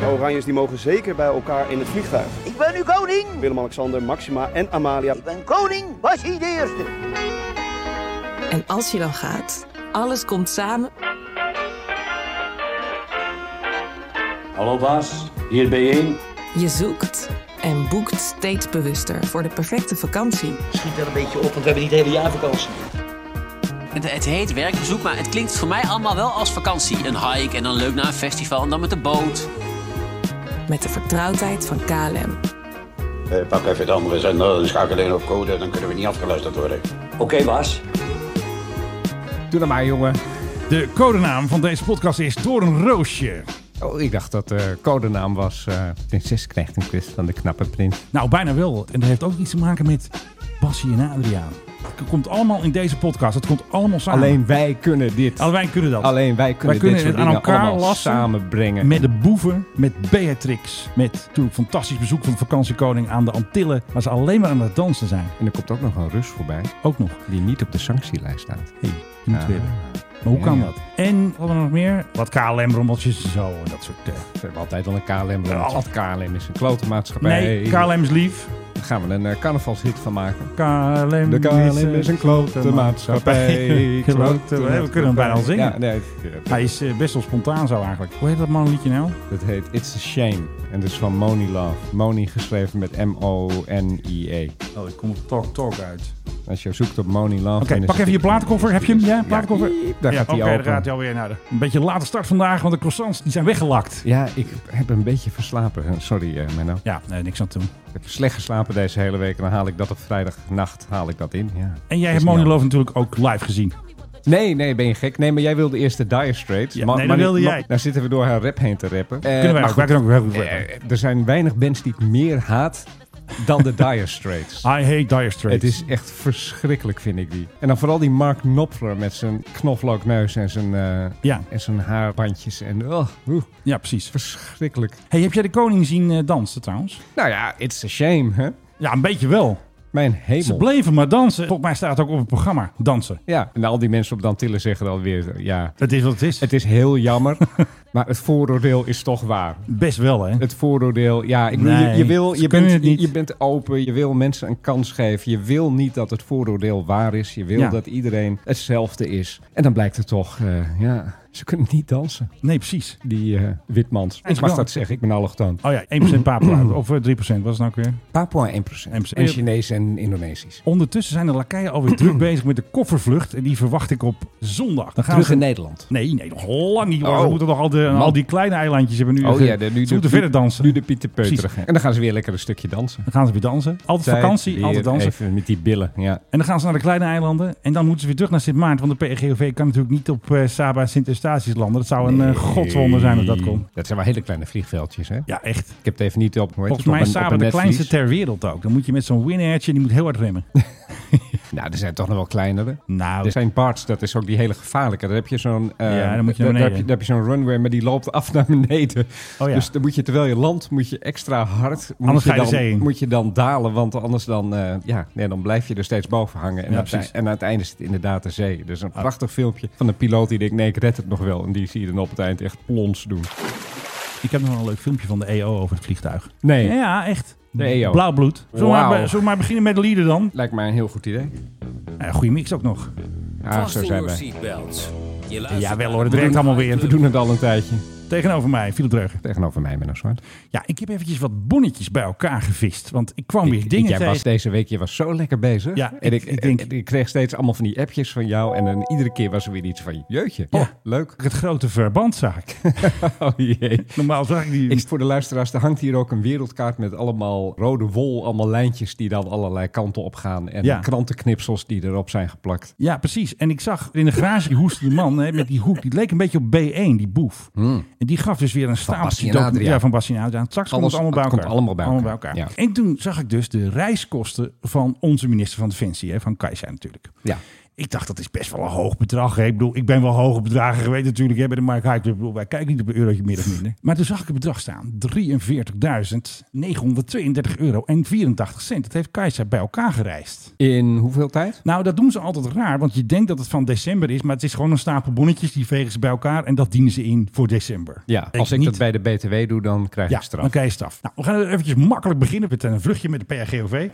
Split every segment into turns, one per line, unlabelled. De Oranjes die mogen zeker bij elkaar in het vliegtuig.
Ik ben nu koning.
Willem-Alexander, Maxima en Amalia.
Ik ben koning Basie de Eerste.
En als je dan gaat, alles komt samen
Hallo baas, hier bijeen.
Je zoekt en boekt steeds bewuster voor de perfecte vakantie.
Schiet wel een beetje op, want we hebben niet het hele jaar vakantie.
Het, het heet werkbezoek, maar het klinkt voor mij allemaal wel als vakantie. Een hike en dan leuk naar een festival en dan met de boot.
Met de vertrouwdheid van KLM.
Eh, pak even het andere zender, dan schakel je in op code, dan kunnen we niet afgeluisterd worden.
Oké baas.
Doe dat maar, jongen.
De codenaam van deze podcast is Doornroosje.
Oh, ik dacht dat de codenaam was eh, Prinses krijgt een kus van de knappe prins.
Nou, bijna wel. En dat heeft ook iets te maken met Bassie en Adriaan. Het komt allemaal in deze podcast. Het komt allemaal samen.
Alleen wij kunnen dit.
Alleen wij kunnen dat.
Alleen wij kunnen,
Wij kunnen
dit soort
het aan
dingen
elkaar
allemaal
lassen.
samenbrengen.
Met de boeven, met Beatrix, met natuurlijk fantastisch bezoek van de vakantiekoning aan de Antillen, waar ze alleen maar aan het dansen zijn.
En er komt ook nog een Rus voorbij
Ook nog.
die niet op de sanctielijst staat.
Hé, je moet
Ah.
willen. Maar hoe
Ja,
kan
ja.
dat? En wat hadden we nog meer? Wat KLM-rommeltjes en zo en dat soort... eh.
We hebben altijd al een KLM.
Oh.
Want KLM is een klote maatschappij.
Nee, KLM is lief.
Daar gaan we een eh, carnavalshit van maken.
KLM,
De KLM is een klote maatschappij.
eh, Klote- we kunnen hem bijna al zingen.
Ja, nee, het-
Hij is eh, best wel spontaan zo eigenlijk. Hoe heet dat man liedje nou?
het heet It's a Shame. En dat is van Moni Love. Moni geschreven met M-O-N-I-E.
Oh, ik kom op Talk Talk uit.
E. Als je zoekt op Moni Love...
Oké,
dan is
pak
het-
even je platenkoffer. Heb je hem? Ja, platenkoffer.
Ja, daar
ja,
gaat hij
oké,
open.
daar gaat hij alweer naar de. Een beetje late start vandaag, want de croissants die zijn weggelakt.
Ja, ik heb een beetje verslapen. Sorry, eh Menno.
Ja, nee, niks aan te doen.
Ik heb slecht geslapen deze hele week. En dan haal ik dat op vrijdagnacht haal ik dat in. Ja.
En jij
Is
hebt
niet
Monolove
handig.
natuurlijk ook live gezien.
Nee, nee, ben je gek? Nee, maar jij wilde eerst de Dire Straits.
Ja,
Ma-
nee, dat
maar
wilde
ma-
jij.
Nou zitten we door haar rap heen te rappen. Eh,
Kunnen wij
maar
ook, wij
goed.
kunnen ook heel goed rappen.
Eh, er zijn weinig bands die ik meer haat dan de Dire Straits.
I hate Dire Straits.
Eh, Het is echt verschrikkelijk, vind ik die. En dan vooral die Mark Knopfler met zijn knoflookneus en zijn, eh,
Ja.
en zijn haarbandjes. En, oh, oeh,
Ja, precies.
verschrikkelijk.
Hey, heb jij de koning zien eh, dansen trouwens?
Nou ja, it's a shame, hè?
Ja, een beetje wel.
Mijn
Ze
hemel.
bleven maar dansen. Volgens mij staat het ook op het programma, dansen.
Ja, en al die mensen op Dantillen zeggen dan weer, ja,
Dat is wat het is.
het is heel jammer, maar het vooroordeel is toch waar.
Best wel, hè?
Het vooroordeel, ja, ik bedoel, je- je,
Nee,
wil,
ze
je,
kunnen
bent,
het niet.
je, je bent open, je wil mensen een kans geven. Je wil niet dat het vooroordeel waar is. Je wil
Ja.
dat iedereen hetzelfde is. En dan blijkt het toch, eh, ja, ze kunnen niet dansen,
Nee, precies.
die eh, witmans.
En ze
Ik mag
wel.
dat zeggen, ik ben allochtoon.
Oh ja, 1% Papua. of eh, 3% was het nou ook weer?
Papua 1%.
En-
En Chinees en Indonesisch.
Ondertussen zijn de lakeien alweer druk bezig met de koffervlucht. En die verwacht ik op zondag. Dan gaan
Terug
ze...
in Nederland.
Nee, nee, nog lang niet. want
Oh.
We moeten nog al, de,
Man.
al die kleine eilandjes hebben nu.
Oh
ge-
ja, de- nu
ze
de-
moeten verder dansen.
Nu de Pieter Peuterige.
Precies.
En dan gaan ze weer lekker een stukje dansen.
Dan gaan ze weer dansen. Altijd vakantie,
Tijd
altijd
weer
dansen.
Even met die billen, ja.
En dan gaan ze naar de kleine eilanden. En dan moeten ze weer terug naar Sint Maarten. Want de PGOV kan natuurlijk niet op eh, Saba en Sint Eustatius landen. Dat zou een eh, godswonder zijn dat dat komt.
Dat zijn wel hele kleine vliegveldjes, hè?
Ja, echt.
Ik heb het even niet op. hoe heet
Volgens
het, op
mij is
een- op
Saba
een
de
netvlies.
kleinste ter wereld ook. Dan moet je met zo'n winnertje, die moet heel hard remmen.
Nou, er zijn toch nog wel kleinere.
Nou,
Er zijn parts, dat is ook die hele gevaarlijke. Daar heb je zo'n eh,
Ja, dan moet je
daar- daar,
naar
heb
beneden.
je, daar heb je zo'n runway, maar die loopt af naar beneden.
Oh ja.
Dus dan moet je, terwijl je landt, moet je extra hard. Moet
Anders
je
ga je de
dan,
zee in.
Moet je dan dalen, want anders dan, eh, ja, nee, dan blijf je er steeds boven hangen. En,
Ja,
aan het, ei-
precies. Ah.
en aan het einde is het inderdaad de zee. Dus een prachtig filmpje van een piloot die denkt, nee, ik red het nog wel. En die zie je dan op het eind echt plons doen.
ik heb nog wel een leuk filmpje van de EO over het vliegtuig.
Nee,
Ja, echt.
De EO.
Blauw bloed. Zullen we
Wauw.
maar, be- zullen we maar beginnen met de lieden dan?
lijkt mij een heel goed idee.
Nou ja, goede mix ook nog.
Ah, zo zijn wij.
wij.
Ja, wel hoor, het werkt allemaal
We
weer.
doen het al een tijdje.
Tegenover mij, Philip Dreugen.
Tegenover mij, Menno Zwart.
Ja, ik heb eventjes wat bonnetjes bij elkaar gevist. Want ik kwam weer
Ik-
dingen
jij
tegen.
was deze week je was zo lekker bezig.
Ja,
en
ik-
ik,
ik denk-
en ik kreeg steeds allemaal van die appjes van jou. En dan iedere keer was er weer iets van, jeutje,
Ja.
oh, leuk.
Het grote verband zag ik.
Oh jee.
Normaal zag ik die...
Ik, voor de luisteraars, er hangt hier ook een wereldkaart met allemaal rode wol, allemaal lijntjes die dan allerlei kanten op gaan. En
Ja.
krantenknipsels die erop zijn geplakt.
Ja, precies. En ik zag in de garage die hoest die man hè, met die hoek. Die leek een beetje op B1, die boef.
Hmm.
En die gaf dus weer een
Bassie
stapeltje
en
docu-
Adriaan.
ja, van Bassie en Adriaan. Straks komt
Alles-
het allemaal bij
het
elkaar.
komt allemaal bij elkaar,
En toen zag ik dus de reiskosten van onze minister van Defensie, hè, van Kajsa natuurlijk.
Ja.
Ik dacht, dat is best wel een hoog bedrag. Hè? Ik bedoel, ik ben wel hoge bedragen geweest natuurlijk. Hè, bij de Mark High Club. Ik bedoel, wij kijken niet op een eurotje meer of minder. Maar toen zag ik het bedrag staan. 43.932 euro en 84 cent. Dat heeft Kajsa bij elkaar gereisd.
In hoeveel tijd?
Nou, dat doen ze altijd raar. Want je denkt dat het van december is. Maar het is gewoon een stapel bonnetjes. Die vegen ze bij elkaar. En dat dienen ze in voor december.
Ja, als ik
niet-
dat bij de BTW doe, dan krijg ik straf.
dan krijg je straf. Nou, we gaan eventjes makkelijk beginnen met een vluchtje met de PRGOV.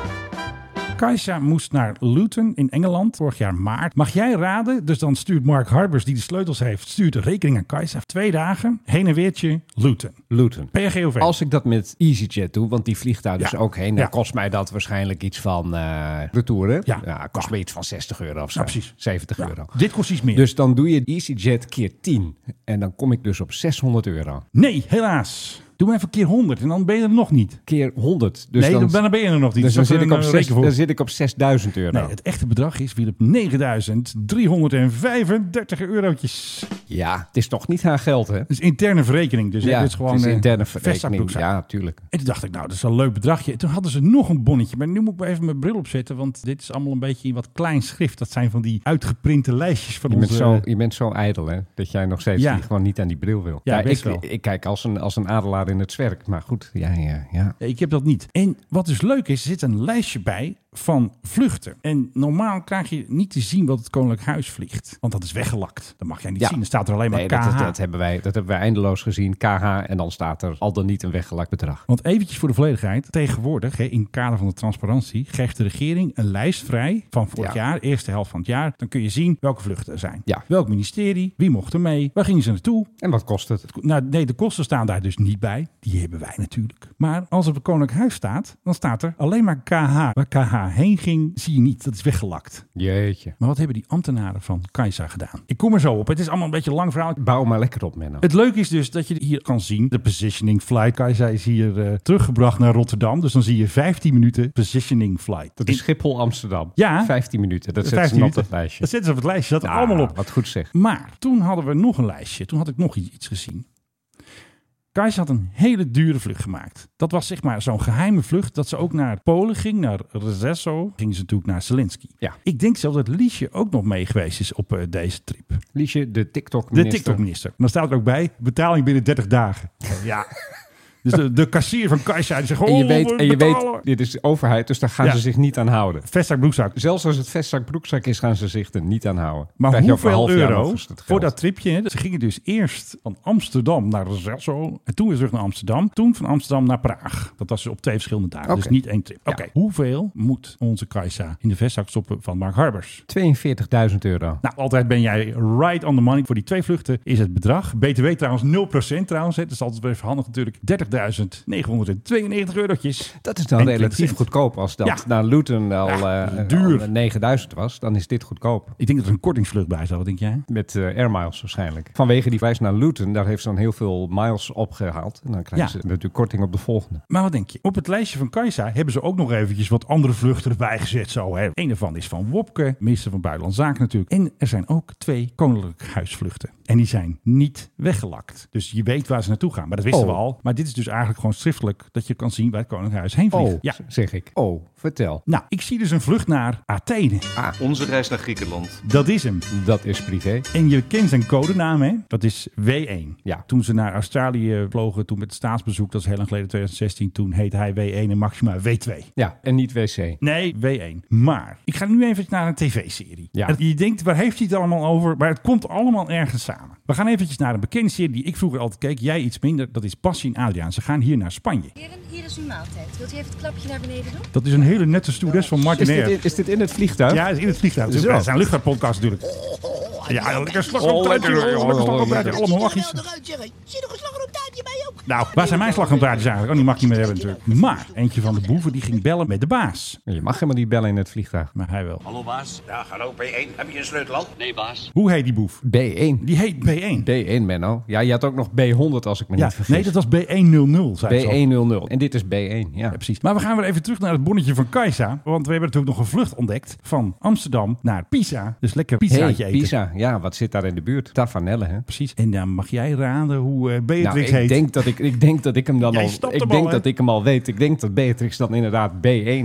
Kajsa moest naar Luton in Engeland vorig jaar maart. Mag jij raden? Dus dan stuurt Mark Harbers, die de sleutels heeft, stuurt een rekening aan Kajsa. Twee dagen, heen en weertje, Luton.
Luton.
PRGOV.
Als ik dat met EasyJet doe, want die vliegt daar dus
Ja.
ook heen, dan
Ja.
kost mij dat waarschijnlijk iets van eh retour, hè?
Ja.
kost me iets van 60 euro of zo.
Ja, precies.
70
Ja,
euro.
Dit kost iets meer.
Dus dan doe je EasyJet keer 10 en dan kom ik dus op 600 euro.
Nee, helaas. Doe even keer 100 en dan ben je er nog niet.
Keer 100. Dus
nee,
dan,
dan, dan ben je er nog niet.
dus dan,
Dus dat
zit
is
ik
een,
op
eh,
zes,
reken voor.
dan zit ik op 6000 euro.
Nee, het echte bedrag is weer op 9.335 eurotjes.
Ja, het is toch niet haar geld, hè?
Dat is interne verrekening. Dus hè,
ja,
dit is gewoon
het is
eh,
interne
vestzakdoekzak.
verrekening. Ja, tuurlijk.
En toen dacht ik, nou, dat is wel een leuk bedragje. Toen hadden ze nog een bonnetje. Maar nu moet ik maar even mijn bril opzetten. Want dit is allemaal een beetje in wat klein schrift. Dat zijn van die uitgeprinte lijstjes van
Je bent,
onze...
zo, je bent zo ijdel, hè? Dat jij nog steeds
eh, Ja.
die gewoon niet aan die bril wil.
Ja, best
ik,
wel.
ik kijk als een, als een adelaar in het zwerk. Maar goed, ja, ja, ja.
Ja, Ik heb dat niet. En wat dus leuk is, er zit een lijstje bij van vluchten. En normaal krijg je niet te zien wat het Koninklijk Huis vliegt. Want dat is weggelakt. Dat mag jij niet
Ja.
zien. Dan staat er alleen maar
Nee,
KH.
dat, dat, dat hebben wij, dat hebben wij eindeloos gezien. KH en dan staat er al dan niet een weggelakt bedrag.
Want eventjes voor de volledigheid. Tegenwoordig, hè, in het kader van de transparantie, geeft de regering een lijst vrij van vorig
Ja.
jaar, eerste helft van het jaar. Dan kun je zien welke vluchten er zijn.
Ja.
Welk ministerie, wie mocht er mee, waar gingen ze naartoe.
En wat kost het?
Nou, nee, de kosten staan daar dus niet bij. Die hebben wij natuurlijk. Maar als het op het Koninklijk Huis staat, dan staat er alleen maar KH. Waar KH heen ging, zie je niet. Dat is weggelakt.
Jeetje.
Maar wat hebben die ambtenaren van Kajsa gedaan? Ik kom er zo op. Het is allemaal een beetje een lang verhaal.
Bouw maar lekker op, Menno.
Het leuke is dus dat je hier kan zien, de positioning flight. Kajsa is hier eh, teruggebracht naar Rotterdam. Dus dan zie je 15 minuten positioning flight.
Dat is Schiphol Amsterdam.
Ja.
15 minuten. Dat zetten
15
ze nog op
minuten.
dat lijstje.
Dat zetten ze op het lijstje. Dat staat
Ah,
allemaal op.
Wat goed zeg.
Maar toen hadden we nog een lijstje. Toen had ik nog iets gezien. Kajsa had een hele dure vlucht gemaakt. Dat was zeg maar zo'n geheime vlucht dat ze ook naar Polen ging, naar Rzeszo. Ging ze natuurlijk naar Zelensky.
Ja.
Ik denk zelf dat Liesje ook nog mee geweest is op eh, deze trip.
Liesje, de
De
TikTok-minister.
TikTok-minister. En Dan staat er ook bij, betaling binnen 30 dagen. Ja. dus de, de kassier van Kajsa die zegt, oh,
En je weet, en je
betalen.
weet dit is de overheid, dus daar gaan
Ja.
ze zich niet aan houden.
Vestzak, broekzak. Dus,
Zelfs als het vestzak broekzak is, gaan ze zich er niet aan houden.
Maar
Krijg je over een
hoeveel
half jaar
euro
nog eens dat
voor
geld.
dat tripje? hè? Ze gingen dus eerst van Amsterdam naar Rzeszo. En toen weer terug naar Amsterdam. Toen van Amsterdam naar Praag. Dat was dus op twee verschillende dagen.
Oké.
Dus niet één trip. Oké,
Ja.
hoeveel moet onze Kajsa in de vestzak stoppen van Mark Harbers?
42.000 euro.
Nou, altijd ben jij right on the money. Voor die twee vluchten is het bedrag. BTW trouwens 0% trouwens. Hè. Dat is altijd wel even handig natuurlijk. 30.992 eurotjes.
Dat is dan
En
relatief
20 cent.
goedkoop. Als dat
Ja.
naar Luton al,
Ja,
eh,
duur.
al 9000 was, dan is dit goedkoop.
Ik denk dat er een kortingsvlucht bij zat. Wat denk jij?
Met eh air miles waarschijnlijk. Vanwege die reis naar Luton, daar heeft ze dan heel veel miles opgehaald. En dan krijgen
Ja.
ze natuurlijk korting op de volgende.
Maar wat denk je? Op het lijstje van Kajsa hebben ze ook nog eventjes wat andere vluchten erbij gezet. Zo, hè. Een daarvan is van Wopke, minister van Buitenlandse Zaken natuurlijk. En er zijn ook twee koninklijk huisvluchten. En die zijn niet weggelakt. Dus je weet waar ze naartoe gaan. Maar dat wisten
Oh.
we al. Maar dit is dus eigenlijk gewoon schriftelijk dat je kan zien waar het koninklijk huis heen vliegt.
Oh,
Ja.
zeg ik. Oh, vertel.
Nou, ik zie dus een vlucht naar Athene.
Ah, Onze reis naar Griekenland.
Dat is hem.
Dat is privé.
En je kent zijn codenaam, hè? Dat is W1.
Ja.
Toen ze naar Australië vlogen, toen met het staatsbezoek, dat is heel lang geleden, 2016, toen heette hij W1 en Maxima W2.
Ja, en niet wc.
Nee, W1. Maar ik ga nu even naar een tv-serie.
Ja.
En Je denkt, waar heeft hij het allemaal over? Maar het komt allemaal ergens samen. We gaan eventjes naar een bekende serie die ik vroeger altijd keek. Jij iets minder. Dat is Passie en Adriaan. Ze gaan hier naar Spanje.
Heren, hier is uw maaltijd. Wilt u even het klapje naar beneden doen?
Dat is een hele nette stewardess van
Is
Martin
dit,
Air.
in, is dit in het vliegtuig?
Ja, dat is in het vliegtuig.
Zo.
Ja, Dat is een luchtvaartpodcast natuurlijk. Ja, oh, lekker Oh, slag op taartje.
lekker.
Lekker slag op taartje. Allemaal lachjes. Nou, waar zijn mijn slagroomtaartjes eigenlijk? Oh, die mag ik niet meer hebben natuurlijk. Maar eentje van de boeven die ging bellen met de baas.
Je mag helemaal niet bellen in het vliegtuig.
Maar hij wel.
Hallo baas.
Ja, hallo P1, heb je een sleutel al?
Nee baas.
Hoe heet die boef?
B1.
Die heet B1.
B1, Menno. Ja, je had ook nog B100 als ik me
Ja,
niet vergis.
nee, dat was B100, zei ze al.
B100. En dit is B1, ja.
Ja, precies. Maar we gaan weer even terug naar het bonnetje van Kajsa. Want we hebben natuurlijk nog een vlucht ontdekt van Amsterdam naar Pisa. Dus lekker
Hey,
pizzaatje eten.
Pisa. Ja, wat zit daar in de buurt? Tafanelle, hè?
Precies. En dan mag jij raden hoe eh Beatrix
Nou, ik
heet.
denk dat ik ik, ik denk dat ik hem dan
Jij
al.
snapt
Ik
hem
denk
al, hè?
dat ik hem al weet. Ik denk dat Beatrix dan inderdaad B1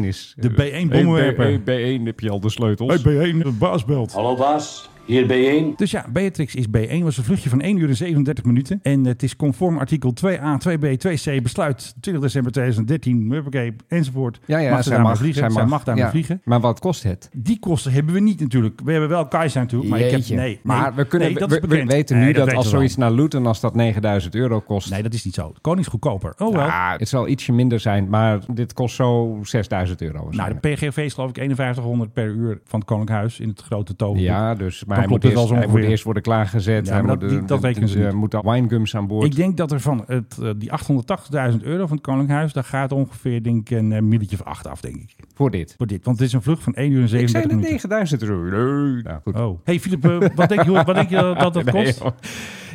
is.
De B1
Hey,
bommenwerper.
B- hey, B1 heb je al de sleutels.
Hey, B1, de baas belt.
Hallo baas, hier B1.
Dus ja, Beatrix is B1, was een vluchtje van 1 uur en 37 minuten. En het is conform artikel 2a, 2b, 2c, besluit 20 december 2013, huppakee, enzovoort.
ja, ja,
mag ze
zij,
daarmee
mag,
vliegen?
zij mag,
Zij mag daarmee
ja.
vliegen.
Maar wat kost het?
Die kosten hebben we niet natuurlijk. We hebben wel Kaiser natuurlijk, maar ik
Jeetje.
heb... Nee,
maar
nee,
we, kunnen,
nee, dat
we,
is
we
bekend.
weten nu
Nee,
dat,
weten
als
we wel.
zojuist naar Luton, als dat 9000 euro kost.
Nee, dat is niet zo. Koning is goedkoper. Oh wel.
Ah, het zal ietsje minder zijn, maar dit kost zo 6000 euro.
nou, de
waarschijnlijk.
PGV is geloof ik 5100 per uur van het Koninklijk Huis in het grote toverboek.
ja, dus, maar
Dan
hij moet,
klopt het
eerst,
wel zo
hij moet
ongeveer.
eerst worden klaargezet.
Ja,
hij
maar
moet,
dat- die-
eh,
dat rekenen ze
eh,
niet.
moeten winegums aan boord.
Ik denk dat er van het, eh, die 880.000 euro van het Koninklijk Huis, daar gaat ongeveer denk ik, een eh, milletje of acht af, denk ik.
voor dit.
Voor dit, want het is een vlucht van 1 uur en
Ik zei
37
net
minuten.
9000 euro. Nee. Nou, goed.
Oh. Hey Filip, eh, wat denk je, wat denk je dat, dat dat
Ah, Nee,
kost?
joh.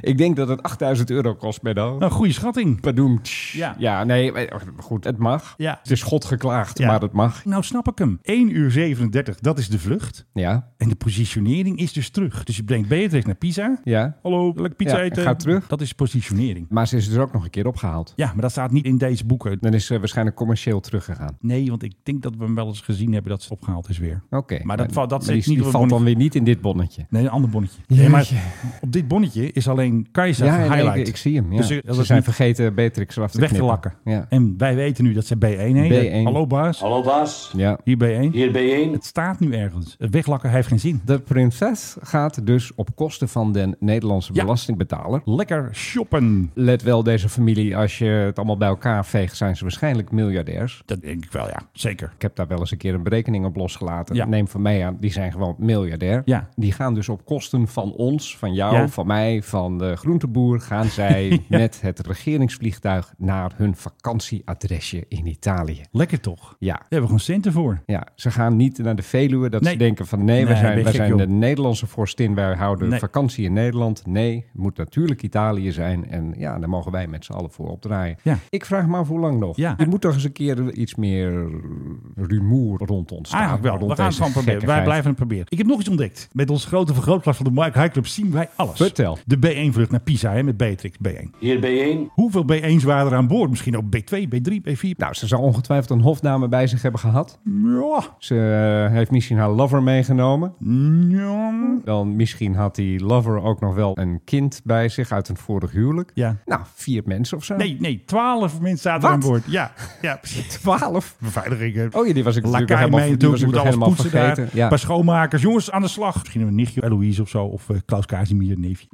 ik denk dat het 8000 euro kost, Benno.
Een goede schatting.
Padoem. Tsch.
Ja.
Ja. nee, maar oh, goed, het mag.
Ja.
Het is God geklaagd,
Ja.
maar het mag.
Nou snap ik hem. 1 uur 37, dat is de vlucht.
Ja,
En de positionering is dus terug. Dus je brengt Beatrix naar Pisa.
ja.
Hallo, lekker pizza
Ja,
eten.
ga terug.
Dat is positionering.
Maar ze is er ook nog een keer opgehaald.
Ja, maar dat staat niet in deze boeken.
Dan is ze waarschijnlijk commercieel teruggegaan.
Nee, want ik denk dat we hem wel eens gezien hebben dat ze opgehaald is weer.
Oké.
Maar dat va- dat zit
die,
niet
die
op het
valt dan
bonnetje.
weer niet in dit bonnetje.
Nee, een ander bonnetje. Nee, maar
Jeetje.
op dit bonnetje is alleen Kaiser
Ja, nee,
highlight.
ik, ik zie hem. Ja.
Dus, eh, dat
ze
is
zijn
niet-
vergeten Beatrix eraf te
Weg te
knippen.
lakken.
Ja.
En wij weten nu dat ze B1 heet.
B1.
Hallo baas.
Hallo baas,
ja.
Hier B1.
hier B1.
Het staat nu ergens. Het weglakken heeft geen zin.
De prinses gaat dus op kosten van de Nederlandse
Ja.
belastingbetaler.
Lekker shoppen.
Let wel, deze familie, als je het allemaal bij elkaar veegt, zijn ze waarschijnlijk miljardairs.
Dat denk ik wel, ja. Zeker.
Ik heb daar wel eens een keer een berekening op losgelaten.
Ja.
Neem van mij aan, die zijn gewoon miljardair.
Ja.
Die gaan dus op kosten van ons, van jou,
Ja.
van mij, van de groenteboer... gaan zij met het regeringsvliegtuig naar hun vakantieadresje in Italië.
Lekker toch? Daar
Ja.
hebben we gewoon centen voor.
Ja, ze gaan niet naar de Veluwe dat
Nee.
ze denken van nee, wij
Nee, ben
zijn,
je
wij
gek,
zijn
joh.
de Nederlandse vorstin, wij houden
Nee.
vakantie in Nederland. Nee, het moet natuurlijk Italië zijn en ja, daar mogen wij met z'n allen voor opdraaien.
Ja.
Ik vraag me af hoe lang nog.
Ja.
Er moet toch eens een keer iets meer rumoer rond ontstaan.
Eigenlijk Ah, wel.
rond
We gaan het
deze
gewoon proberen. Wij
gekkigheid.
blijven het proberen. Ik heb nog iets ontdekt. Met ons grote vergrootglas van de Mike High Club zien wij alles.
Vertel.
De B1-vlucht naar Pisa hè, met Beatrix B1.
Hier B1,
Hoeveel B1's waren er aan boord? Misschien ook B2, B3, B4.
Nou, ze zou ongetwijfeld een hofdame bij zich hebben gehad.
Ja.
Ze eh, heeft misschien haar lover meegenomen.
Ja.
Dan misschien had die lover ook nog wel een kind bij zich uit een vorig huwelijk.
Ja.
Nou, vier mensen of zo.
Nee, nee. Twaalf mensen zaten er
Wat?
aan boord. Ja, ja precies.
Twaalf.
Beveiliging. hè.
Oh ja, die was ik natuurlijk
Lakai
helemaal,
mee
die was
natuurlijk,
ik
moet
nog helemaal
alles poetsen
vergeten.
daar.
Ja.
Paar schoonmakers, jongens, aan de slag. Misschien een nichtje, Eloïse of zo, of eh, Klaus Casimir, een neefje.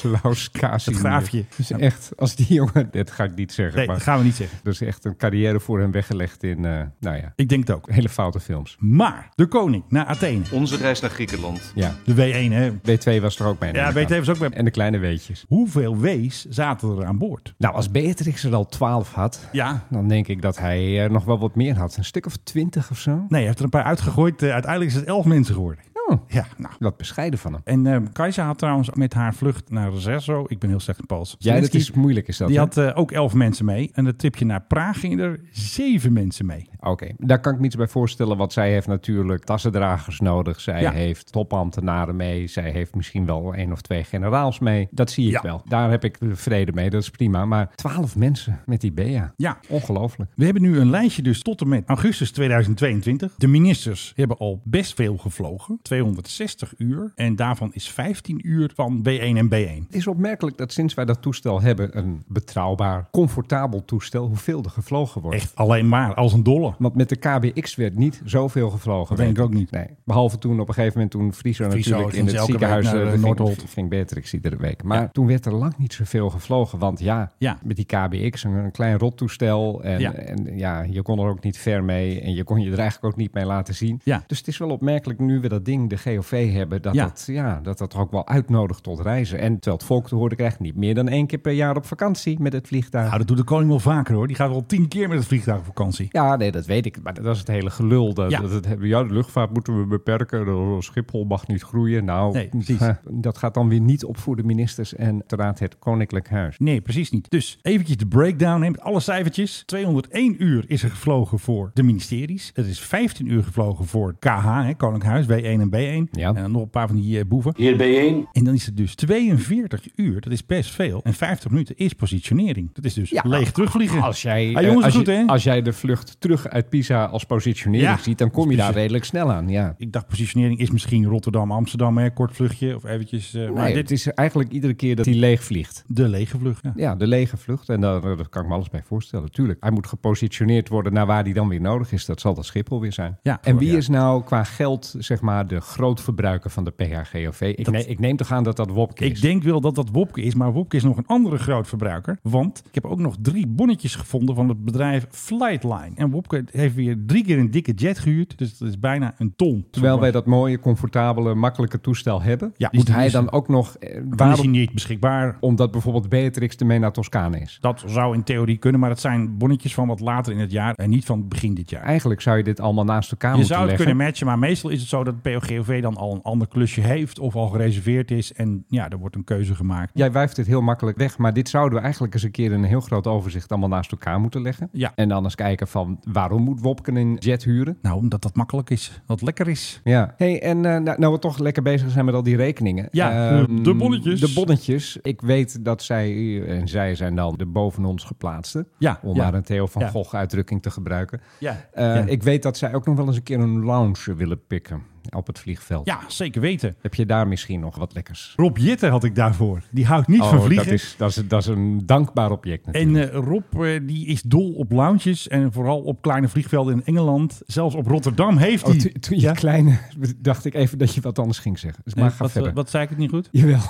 Klaus Casimir.
Het graafje.
Dat is echt, als die jongen... Dit ga ik niet zeggen,
eh, Nee, dat
maar...
gaan we niet zeggen.
Er is echt een carrière voor hem weggelegd in, eh, nou ja,
Ik denk het ook.
hele foute films.
Maar, de koning naar Athene.
Onze reis naar Griekenland.
Ja.
De W1, hè.
B2 was er ook bij.
Ja,
neem ik aan.
weet even ook bij.
En de kleine weetjes.
Hoeveel W's zaten er aan boord?
Nou, als Beatrix er al 12 had,
Ja.
dan denk ik dat hij eh, nog wel wat meer had. Een stuk of 20 of zo.
Nee, hij heeft er een paar uitgegooid. Eh, uiteindelijk is het elf mensen geworden.
Oh,
Ja, nou.
wat bescheiden van hem.
En ehm Kajsa had trouwens met haar vlucht naar Zesso, ik ben heel slecht in Pools.
Ja, dat
Zelensky,
is moeilijk is dat.
Die
hè?
had eh, ook elf mensen mee. En het tripje naar Praag gingen er zeven mensen mee.
Oké, daar kan ik me iets bij voorstellen. Want zij heeft natuurlijk tassendragers nodig. Zij
Ja.
heeft topambtenaren mee. Zij heeft misschien wel één of twee generaals mee. Dat zie ik
Ja.
wel. Daar heb ik vrede mee. Dat is prima. Maar twaalf mensen met die BEA.
Ja,
Ongelooflijk.
We hebben nu een lijstje dus tot en met augustus 2022. De ministers hebben al best veel gevlogen. 260 uur. En daarvan is 15 uur van B1 en B1.
Het is opmerkelijk dat sinds wij dat toestel hebben, een betrouwbaar, comfortabel toestel, hoeveel er gevlogen wordt.
Echt alleen maar als een dolle.
Want met de KBX werd niet zoveel gevlogen.
Dat denk ik ook niet.
Nee. Behalve toen op een gegeven moment toen Friso,
Friso
natuurlijk
ging
in
ze
het
elke
ziekenhuis
week naar,
eh,
eh,
ging-
Noordholt.
ging, Beatrix iedere week. Maar toen werd er lang niet zoveel gevlogen. Want ja,
Ja.
met die KBX, een, een klein rottoestel. En ja.
Ja.
en ja, je kon er ook niet ver mee. En je kon je er eigenlijk ook niet mee laten zien.
Ja.
Dus het is wel opmerkelijk nu we dat ding, de GOV, hebben. Dat,
Ja.
Dat, ja, dat dat ook wel uitnodigt tot reizen. En terwijl het volk te horen krijgt, niet meer dan één keer per jaar op vakantie met het vliegtuig.
Nou, dat doet de koning wel vaker hoor. Die gaat wel 10 keer met het vliegtuig op vakantie.
Ja, nee, dat weet ik. Maar dat is het hele gelul. Dat,
Ja.
dat het, hebben- ja, de luchtvaart moeten we beperken. De- Schiphol mag niet groeien. Nou,
Nee, precies.
eh, dat gaat dan weer niet op voor de ministers en uiteraard het Koninklijk Huis.
Nee, precies niet. Dus eventjes de breakdown hè, met alle cijfertjes. 201 uur is er gevlogen voor de ministeries. Het is 15 uur gevlogen voor KH, hè, Koninklijk Huis, W1 en en B1.
Ja.
En dan nog een paar van die eh, boeven.
Hier bijeen.
En dan is het dus 42 uur, dat is best veel. En 50 minuten is positionering. Dat is dus leeg terugvliegen.
nou, Als jij,
Ah,
eh,
jongens,
als,
goed, hè?
je, als jij de vlucht terug uit Pisa als positionering
Ja.
ziet, dan kom je daar
Precies.
redelijk snel aan. Ja.
Ik dacht positionering is misschien Rotterdam, Amsterdam, hè, kort vluchtje of eventjes. eh, maar
Nee,
dit
dit
is
is eigenlijk iedere keer dat hij leeg vliegt.
de lege vlucht. Ja.
Ja, de lege vlucht. En daar, daar kan ik me alles bij voorstellen. Tuurlijk, hij moet gepositioneerd worden naar waar hij dan weer nodig is. Dat zal dat Schiphol weer zijn.
Ja,
en wie
ja.
is nou qua geld, zeg maar, de grootverbruiker van de PHGOV? Ik,
Dat-
ne- ik neem toch aan dat dat Wopke is.
Ik denk wel dat dat Wopke is, maar Wopke is nog een andere groot verbruiker. Want ik heb ook nog drie bonnetjes gevonden van het bedrijf Flightline. En Wopke heeft weer drie keer een dikke jet gehuurd. Dus dat is bijna een ton.
Terwijl wij dat mooie, comfortabele, makkelijke toestel hebben,
Ja,
moet
die
hij
is-
dan ook nog... eh,
Waarom is hij
waarom,
niet beschikbaar?
omdat bijvoorbeeld Beatrix de mee naar Toscane is.
Dat zou in theorie kunnen, maar dat zijn bonnetjes van wat later in het jaar en niet van begin dit jaar.
Eigenlijk zou je dit allemaal naast elkaar
Je
moeten
zou het
leggen.
kunnen matchen, maar meestal is het zo dat POGOV dan al een ander klusje heeft of al gereserveerd is. En ja, er wordt een keuze gemaakt.
Jij wuift dit heel makkelijk weg, maar dit zouden we eigenlijk eens een keer in een heel groot overzicht allemaal naast elkaar moeten leggen.
Ja.
En dan eens kijken van waarom moet Wopken een jet huren?
Nou, omdat dat makkelijk is, dat het lekker is.
Ja. Hey, en eh, nou, nou we toch lekker bezig zijn met al die rekeningen.
Ja,
Ehm,
de bonnetjes.
De bonnetjes. Ik weet dat zij, eh, en zij zijn dan de boven ons geplaatste.
Ja,
Om
ja.
maar een Theo van
Ja.
Gogh uitdrukking te gebruiken.
Ja.
Eh,
Ja.
Ik weet dat zij ook nog wel eens een keer een lounge willen pikken op het vliegveld.
Ja, zeker weten.
Heb je daar misschien nog wat lekkers?
Rob Jitte had ik daarvoor. Die houdt niet van
Oh,
vliegen.
Dat is, dat, is, dat is een dankbaar object natuurlijk.
En eh, Rob eh, die is dol op lounges en vooral op kleine vliegvelden in Engeland. Zelfs op Rotterdam heeft hij.
Oh, toen- toen je
Ja?
kleine dacht ik even dat je wat anders ging zeggen. Dus maar
Nee,
ga
wat,
verder.
wat zei ik het niet goed?
Jawel.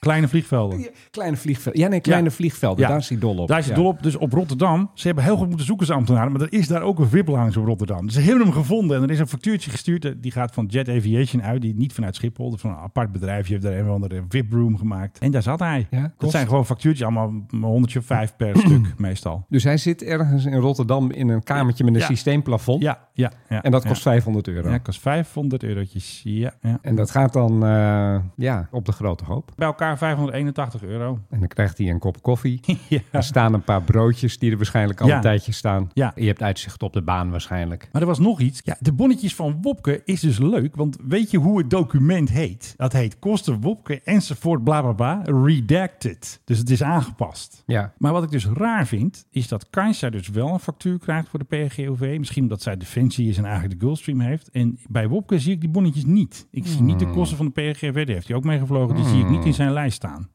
Kleine vliegvelden.
Kleine vliegvelden. Ja, nee, kleine
Ja.
vliegvelden.
Ja.
Daar is hij dol op.
Daar is hij
Ja.
dol op. Dus op Rotterdam. Ze hebben heel goed moeten zoeken, ze ambtenaren. Maar er is daar ook een VIP-lounge op Rotterdam. Dus ze hebben hem gevonden. En er is een factuurtje gestuurd. eh, Die gaat van Jet Aviation uit. Die niet vanuit Schiphol. Dat is van een apart bedrijfje. Heeft daar een of andere VIP-room gemaakt. En daar zat hij.
Ja,
dat
kost?
zijn gewoon factuurtjes. Allemaal een honderdje of vijf per stuk meestal.
Dus hij zit ergens in Rotterdam in een kamertje met een
Ja.
systeemplafond.
Ja, ja, ja.
En dat
ja.
kost 500 euro.
Ja, kost 500 eurotjes. Ja, ja.
En dat gaat dan eh, ja, op de grote hoop.
Bij elkaar 581 euro.
En dan krijgt hij een kop koffie.
ja.
Er staan een paar broodjes die er waarschijnlijk al
Ja.
een tijdje staan.
Ja.
Je hebt uitzicht op de baan waarschijnlijk.
Maar er was nog iets. Ja, de bonnetjes van Wopke is dus leuk. Want weet je hoe het document heet? Dat heet kosten Wopke enzovoort bla bla bla. Redacted. Dus het is aangepast.
Ja.
Maar wat ik dus raar vind, is dat Kajsa dus wel een factuur krijgt voor de PRGOV. Misschien omdat zij Defensie is en eigenlijk de Gulfstream heeft. En bij Wopke zie ik die bonnetjes niet. Ik zie niet de kosten van de PRGOV. Daar heeft hij ook mee gevlogen. Die zie ik niet in zijn lijst staan.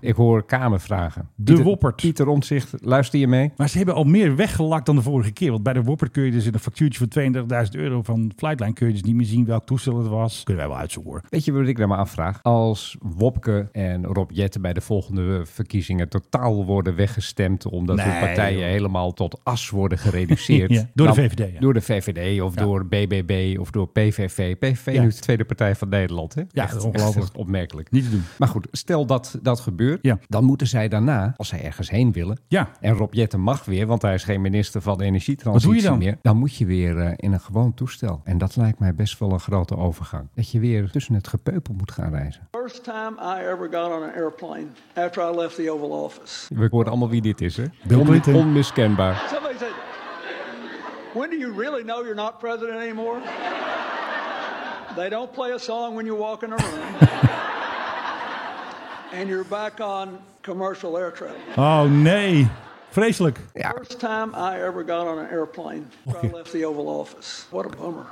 Ik hoor kamervragen.
De Woppert.
Pieter Omtzigt, luister je mee?
Maar ze hebben al meer weggelakt dan de vorige keer. Want bij de Whopper kun je dus in een factuurtje van 32.000 euro van Flightline... kun je dus niet meer zien welk toestel het was. Kunnen wij wel uitzoeken hoor.
Weet je wat ik daar me afvraag? Als Wopke en Rob Jetten bij de volgende verkiezingen totaal worden weggestemd... omdat
Nee,
de partijen
joh.
helemaal tot as worden gereduceerd...
Ja, door de VVD, ja.
Door de VVD of
Ja.
door BBB of door PVV. PVV
Ja.
nu de tweede partij van Nederland, hè?
dat is ongelooflijk.
echt opmerkelijk.
Niet te doen.
Maar goed, stel dat dat gebeurt,
Ja.
dan moeten zij daarna, als zij ergens heen willen...
Ja.
en Rob Jetten mag weer, want hij is geen minister van de
Wat
energietransitie
doe je dan?
meer... dan moet je weer eh, in een gewoon toestel. En dat lijkt mij best wel een grote overgang. Dat je weer tussen het gepeupel moet gaan reizen.
First time I ever got on an airplane after I left the Oval Office.
We horen allemaal wie dit is, hè?
Bill Clinton.
onmiskenbaar.
Somebody said, When do you really know you're not president anymore? They don't play a song when you walk in the room. and you're back on commercial air travel.
Oh nee, vreselijk.
First time I ever got on an airplane after I left the Oval Office. What a bummer.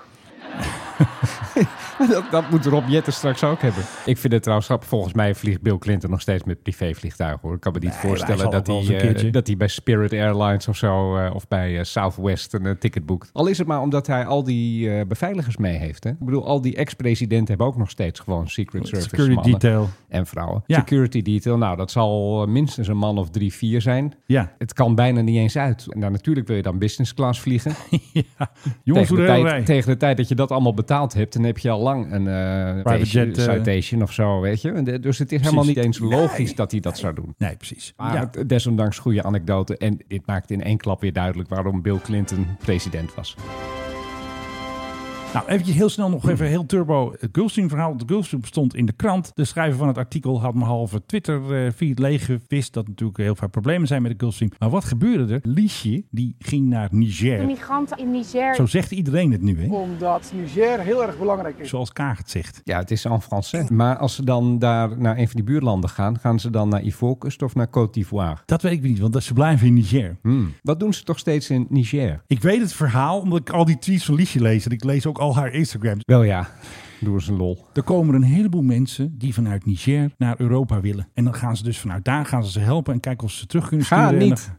dat, dat moet Rob Jetten straks ook hebben. Ik vind het trouwens grappig. Volgens mij vliegt Bill Clinton nog steeds met privévliegtuigen, hoor. Ik kan me niet
hij zal
voorstellen dat
wel
hij,
eens
eh,
een keertje.
dat hij bij Spirit Airlines of zo... eh, of bij eh, Southwest een eh, ticket boekt. Al is het maar omdat hij al die eh, beveiligers mee heeft, hè? Ik bedoel, al die ex-presidenten hebben ook nog steeds gewoon Secret Service
Security
mannen.
detail.
En vrouwen.
Ja.
Security detail, nou, dat zal eh, minstens een man of drie, vier zijn.
Ja.
Het kan bijna niet eens uit. Nou, natuurlijk wil je dan business class vliegen.
Ja.
tegen,
Jongens, hoe
de
de hele
tijd,
rij.
tegen de tijd dat je dat allemaal betaald hebt, dan heb je al lang een eh
Private
citation-
jet, eh.
citation of zo, weet je. En de- Dus het is helemaal niet eens logisch dat hij dat zou doen.
Nee, precies.
Maar
Ja.
het- eh, desondanks goede anekdote. En dit maakt in één klap weer duidelijk waarom Bill Clinton president was.
Nou, eventjes heel snel nog even heel turbo het Gulfstream-verhaal. Het Gulfstream stond in de krant. De schrijver van het artikel had maar halve Twitter-feed leeggevist. Dat natuurlijk heel veel problemen zijn met de Gulfstream. Maar wat gebeurde er? Liesje, die ging naar
De
Niger.
migranten in Niger.
Zo zegt iedereen het nu, hè?
Omdat Niger heel erg belangrijk is.
Zoals Kaag zegt.
Ja, het is en français. Maar als ze dan daar naar een van die buurlanden gaan, gaan ze dan naar Ivoorkust of naar Côte d'Ivoire?
Dat weet ik niet, want ze blijven in Niger.
Wat doen ze toch steeds in Niger?
Ik weet het verhaal omdat ik al die tweets van Liesje lees. En ik lees ook al haar Instagram.
Wel ja, doen ze lol.
Er komen een heleboel mensen die vanuit Niger naar Europa willen. En dan gaan ze dus vanuit daar gaan ze ze helpen en kijken of ze ze terug kunnen
Ga
sturen. En
niet.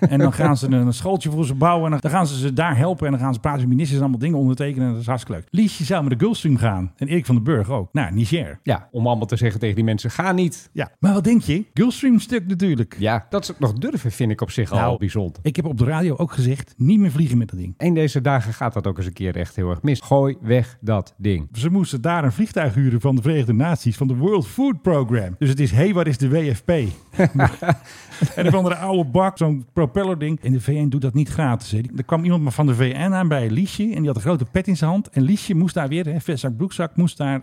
dan- En dan gaan ze een schooltje voor ze bouwen. En dan- dan gaan ze ze daar helpen. En dan gaan ze praten met ministers en allemaal dingen ondertekenen. En dat is hartstikke leuk. Liesje zou met de Gulfstream gaan. En Erik van den Burg ook. Naar Niger.
Ja, om allemaal te zeggen tegen die mensen, ga niet.
Ja, maar wat denk je? Gulfstream stuk natuurlijk.
Ja, dat ze het nog durven vind ik op zich al
Nou,
bijzonder.
Ik heb op de radio ook gezegd, niet meer vliegen met dat ding.
Eén deze dagen gaat dat ook eens een keer echt heel erg mis. Gooi weg dat ding.
Ze moesten daar een vliegtuig huren van de Verenigde Naties, van de World Food Program. Dus het is, hé, hey, waar is de WFP? en een van de oude bak, zo'n propellerding. En de VN doet dat niet gratis. Hè. Er kwam iemand maar van de VN aan bij Liesje en die had een grote pet in zijn hand. En Liesje moest daar weer, hè, vestzak, broekzak, moest daar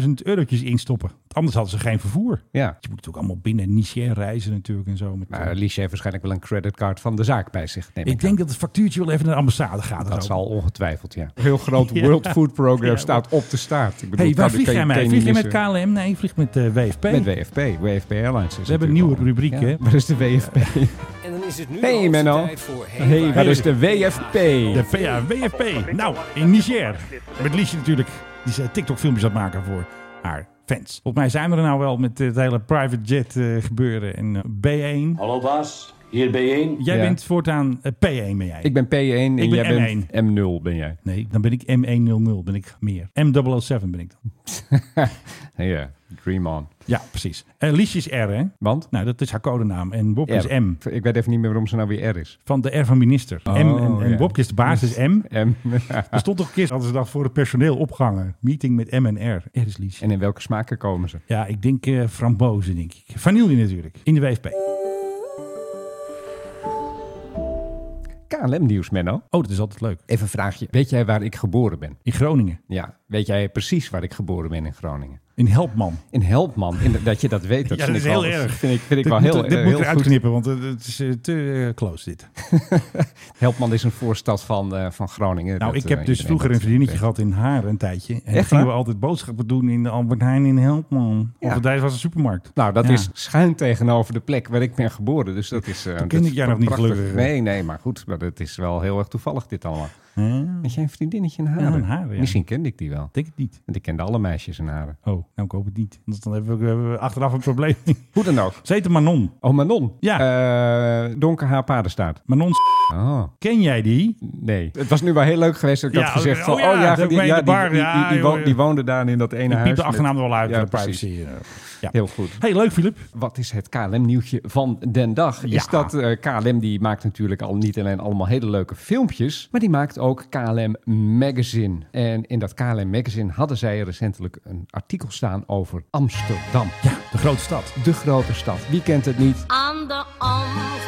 14.000 eurotjes in stoppen. Want Anders hadden ze geen vervoer.
Ja.
Je moet natuurlijk allemaal binnen Niger reizen natuurlijk en zo. Met,
Maar eh, Liesje heeft waarschijnlijk wel een creditcard van de zaak bij zich. Neem ik
ik denk dat het factuurtje wel even naar de ambassade gaat. of
Dat
zo.
zal ongetwijfeld, ja. Heel groot
Ja.
World Food Program
Ja.
staat op de staat. Ik
hey, waar
kan-
vlieg
kan-
jij
kan
mee?
niet
Vlieg je met
missen.
KLM? Nee, je vliegt met eh, WFP.
Met WFP. WFP Airlines.
We hebben een nieuwe rubriek, hè?
Waar is de WFP?
En dan is het nu
Hey Menno. Hey, waar is de WFP?
De PA, WFP. Nou, in Niger. Met Liesje natuurlijk. Die ze TikTok-filmpjes aan het maken voor haar fans. Volgens mij zijn we er nou wel met eh, het hele private jet eh, gebeuren en eh, B1.
Hallo baas, hier bijeen.
Jij
Ja.
bent voortaan eh, P1 ben jij.
Ik ben P1 en
Ik ben
jij
M1.
bent M0 ben jij.
Nee, dan ben ik M100, ben ik meer. M007 ben ik dan.
Ja, dream on.
Ja, precies. En Liesje is R, hè?
Want?
Nou, dat is haar codenaam. En Bob is
R.
M.
Ik weet even niet meer waarom ze nou weer R is.
Van de R van minister.
Oh,
M en, en
ja.
Bob is de basis M.
M.
Er stond toch een keer, hadden ze dat voor het personeel opgehangen. Meeting met M en R. R is Liesje.
En in welke smaken komen ze?
Ja, ik denk eh frambozen, denk ik. Vanille natuurlijk, in de WFP.
KLM-nieuws, Menno.
Oh, dat is altijd leuk.
Even een vraagje. Weet jij waar ik geboren ben?
In Groningen,
Ja. Weet jij precies waar ik geboren ben in Groningen?
in Helpman.
In Helpman. In de- dat je dat weet, dat,
ja, dat
vind
is
ik
heel
wel-
erg.
Vind ik, vind ik
dit
wel
moet,
heel,
dit
eh,
moet
heel
eruit
goed.
knippen, want eh, het is eh, te eh, close dit.
Helpman is een voorstad van, eh, van Groningen.
nou,
Dat,
ik heb
eh,
dus
iedereen
vroeger
dat
een vriendinnetje
weet.
gehad in Haren een tijdje. En dan
Echt
gingen
waar?
we altijd boodschappen doen in de Albert Heijn in Helpman.
Ja.
Of daar was een supermarkt.
Nou, dat
Ja.
is schuin tegenover de plek waar ik ben geboren. Dus dat is. eh,
ken
dat
ik
is
jou nog niet,
prachtig.
gelukkig.
Nee, nee, maar goed. Maar het is wel heel erg toevallig, dit allemaal.
Huh?
Weet jij een vriendinnetje in Haren?
Ja, in Haren, ja.
Misschien kende ik die wel.
Denk het niet.
Want ik kende alle meisjes in Haren.
Oh, nou ik hoop het niet. Anders dan hebben we, hebben we achteraf een probleem.
Hoe dan ook.
Ze heette Manon.
Oh, Manon.
Ja.
Eh, donker haar paardenstaart.
Manon, s-
Oh,
ken jij die?
nee. Het was nu wel heel leuk geweest dat ik
Ja,
had gezegd
oh
van... Oh
ja,
ja,
dat
die,
heb ik mee in
ja,
de
die,
bar.
die,
Ja,
die, wo-
joh.
die woonde daar in dat ene
Ik
huis.
piep de
met-
achternaam er wel uit,
Ja,
de
precies.
privacy. eh. Ja.
Heel goed.
Hey, leuk Filip.
Wat is het KLM-nieuwtje van den dag? Is
Ja.
dat eh, KLM die maakt natuurlijk al niet alleen allemaal hele leuke filmpjes, maar die maakt ook KLM Magazine. En in dat KLM Magazine hadden zij recentelijk een artikel staan over Amsterdam.
Ja, de grote stad.
De grote stad. Wie kent het niet?
Aan de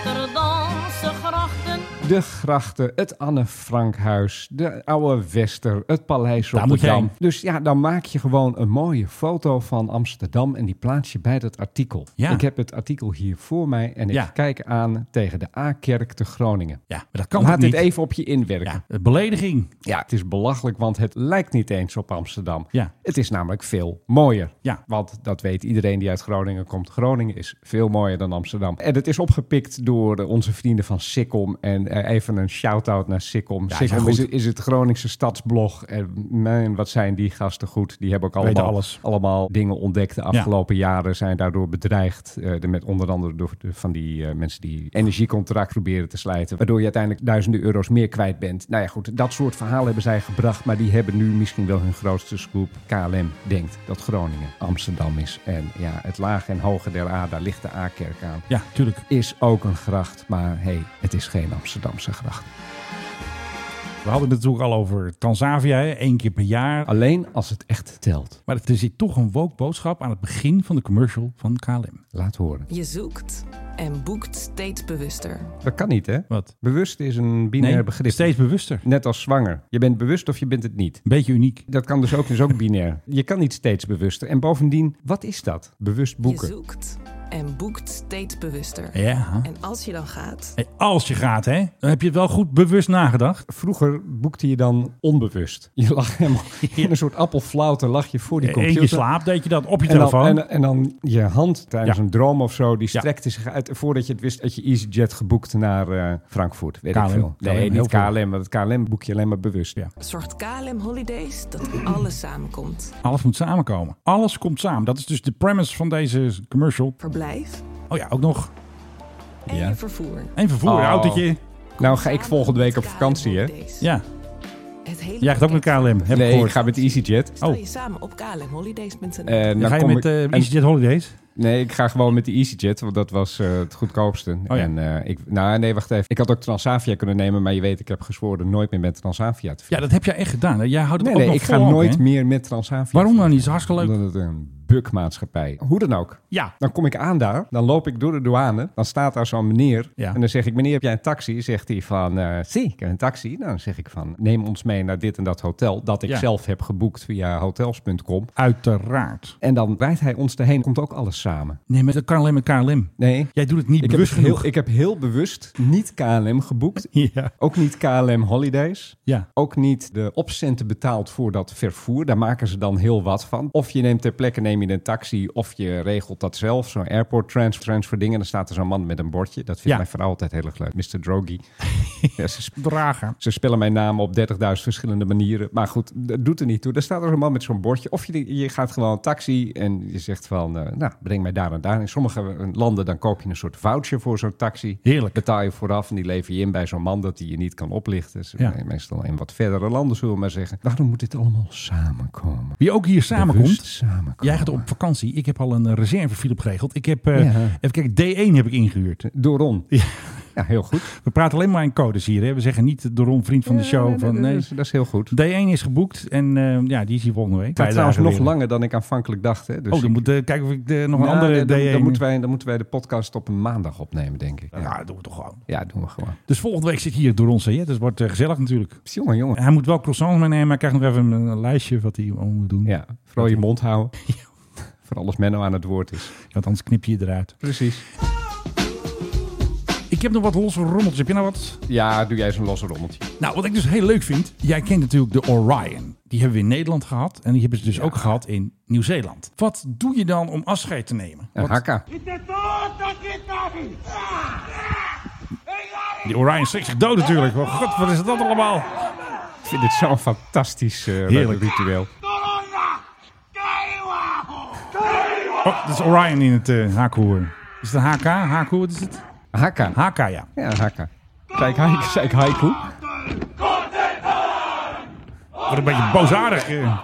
Amsterdamse grachten.
De grachten, het Anne Frankhuis, de Oude Wester, het Paleis
Daar moet je
Rotterdam.
heen.
Dus ja, dan maak je gewoon een mooie foto van Amsterdam en die plaats je bij dat artikel.
Ja.
Ik heb het artikel hier voor mij en ik
Ja.
kijk aan tegen de A-kerk te Groningen.
Ja, maar dat kan
Laat
toch
dit
niet?
even op je inwerken. Ja.
Ja, eh, belediging.
het is belachelijk, want het lijkt niet eens op Amsterdam.
Ja.
Het is namelijk veel mooier.
Ja.
Want dat weet iedereen die uit Groningen komt. Groningen is veel mooier dan Amsterdam. En het is opgepikt door eh, onze vrienden van Sikkom. En eh, even een shout-out naar Sikkom.
Ja,
Sikkom
ja,
is,
goed.
is het Groningse stadsblog. En man, wat zijn die gasten goed. Die hebben ook
Weten
allemaal,
alles.
allemaal dingen ontdekt de afgelopen jaren. Zijn daardoor bedreigd. Eh, de- met onder andere door de- van die eh, mensen die energiecontract proberen te slijten. Waardoor je uiteindelijk duizenden euro's meer kwijt bent. Nou ja goed, dat soort verhalen hebben zij gebracht. Maar die hebben nu misschien wel hun grootste scoop. KLM denkt dat Groningen Amsterdam is. En ja, het lage en hoge der A, daar ligt de A-kerk aan.
Ja, tuurlijk.
Is ook een gracht, maar hey, het is geen Amsterdamse gracht.
We hadden het natuurlijk al over Tanzavia, hè, één keer per jaar.
Alleen als het echt telt.
Maar er zit toch een woke boodschap aan het begin van de commercial van KLM.
Laat horen.
Je zoekt, en boekt steeds bewuster.
Dat kan niet, hè?
Wat?
Bewust is een binair
Nee,
begrip.
steeds bewuster.
Net als zwanger. Je bent bewust of je bent het niet.
Beetje uniek.
Dat kan dus ook, dus ook binair. Je kan niet steeds bewuster. En bovendien, wat is dat? Bewust boeken.
Je zoekt en boekt steeds bewuster.
Ja.
En als je dan gaat,
Hey, als je gaat, hè, dan heb je het wel goed bewust nagedacht.
Vroeger boekte je dan onbewust. Je lag helemaal in een soort appelflauwte lag je voor die
In
computer.
je slaap deed je dat op je
en dan,
telefoon.
en, en dan je hand tijdens
Ja.
een droom of zo, die strekte zich uit. Voordat je het wist, had je EasyJet geboekt naar eh, Frankfurt. Weet
KLM.
ik veel.
KLM,
Nee,
heel
niet
veel.
KLM, want het KLM boek je alleen maar bewust. Ja.
zorgt KLM Holidays dat alles samenkomt.
Alles moet samenkomen. Alles komt samen. Dat is dus de premise van deze commercial.
Verblijf
Oh ja, ook nog.
en je vervoer.
En vervoer,
Oh.
een autootje.
Nou ga ik volgende week op vakantie, hè?
Ja.
Het hele
Jij gaat ook met KLM, heb ik
Nee, ik
gehoord.
ga met EasyJet.
stel je samen op klmholidays.nl.
En dan
ga je
kom
met
ik-
eh,
en-
EasyJet Holidays?
Nee, ik ga gewoon met de EasyJet, want dat was eh, het goedkoopste.
Oh ja.
En eh, ik, nou nee, wacht even. Ik had ook Transavia kunnen nemen, maar je weet, ik heb gezworen nooit meer met Transavia te
Ja, dat heb jij echt gedaan. hè? Jij houdt het
Nee,
ook
nee,
nog
ik ga
vol,
nooit
hè?
meer met Transavia.
Waarom dan niet? Is hartstikke leuk.
Omdat het een bukmaatschappij. Hoe dan ook.
Ja.
Dan kom ik aan daar, dan loop ik door de douane, dan staat daar zo'n meneer
Ja.
en dan zeg ik, meneer, heb jij een taxi? Zegt hij van, eh zie, ik heb een taxi. Nou, dan zeg ik van, neem ons mee naar dit en dat hotel, dat ik
Ja.
zelf heb geboekt via hotels.com.
Uiteraard.
En dan rijdt hij ons erheen, komt ook alles samen.
Nee, maar dat kan alleen met KLM.
Nee.
Jij doet het niet
Ik heb,
bewust genoeg.
heel, ik heb heel bewust niet KLM geboekt.
Ja.
Ook niet KLM Holidays.
Ja.
Ook niet de opcenten betaald voor dat vervoer. Daar maken ze dan heel wat van. Of je neemt ter plekke neem je een taxi. Of je regelt dat zelf. Zo'n airport transfer, transfer ding. En dan staat er zo'n man met een bordje. Dat vindt
Ja.
mijn vrouw altijd heel erg leuk. Mr. Drogi. ja, ze, sp-
Drager.
ze spellen mijn naam op 30.000 verschillende manieren. Maar goed, dat doet er niet toe. Daar staat er een man met zo'n bordje. Of je, je gaat gewoon een taxi en je zegt van... eh, nou, breng mij daar en daar. In sommige landen dan koop je een soort voucher voor zo'n taxi.
Heerlijk.
Betaal je vooraf en die lever je in bij zo'n man... dat die je niet kan oplichten. Dus
Ja.
me- Meestal in wat verdere landen, zullen we maar zeggen. Waarom moet dit allemaal samenkomen?
Wie ook hier
Bewust
samenkomt.
samenkomen.
Jij gaat op vakantie. Ik heb al een eh, reservefile opgeregeld. Ik heb, eh,
Ja.
even kijken, D1 heb ik ingehuurd.
Door Ron. Ja. heel goed.
We praten alleen maar in codes hier. Hè? We zeggen niet de Ron vriend van de show.
Ja,
van, nee,
Dat, is, dat is heel goed.
D1 is geboekt en eh, ja, die is hier volgende week.
Het gaat
Twee
trouwens
dagen
nog
weer.
langer dan ik aanvankelijk dacht. Hè? Dus
oh, dan
ik-
moet eh, kijken of ik eh, nog een
Nou, nee,
andere
dan,
D1...
dan moeten wij, dan moeten wij de podcast op een maandag opnemen, denk ik.
Ja, dat doen we toch gewoon.
Ja, doen we gewoon.
Dus volgende week zit hier door ons. Hè? Dus het wordt eh, gezellig natuurlijk.
Jongen, jongen.
Hij moet wel croissants meenemen. maar Hij krijgt nog even een, een lijstje wat hij allemaal moet doen.
Ja, vooral je mond houden. Vooral als Menno aan het woord is.
Want anders knip je je eruit.
Precies.
Ik heb nog wat losse rommeltjes. Heb je nou wat?
Ja, doe jij zo'n losse rommeltje.
Nou, wat ik dus heel leuk vind. Jij kent natuurlijk de Orion. Die hebben we in Nederland gehad. En die hebben ze dus ook gehad in Nieuw-Zeeland. Wat doe je dan om afscheid te nemen?
Een
Wat-
hakka.
Die Orion schrikt zich dood natuurlijk. Oh, god, wat is dat allemaal?
Ik vind dit zo'n fantastisch eh,
Heerlijk.
ritueel.
Oh, dat is Orion in het eh haakhoer. Is het een HK? Haakhoer, wat is het?
Hakka.
HK, ja.
Ja, een hakka. Zei ik, haik- zei ik haiku?
Wat een beetje boosaardig. eh.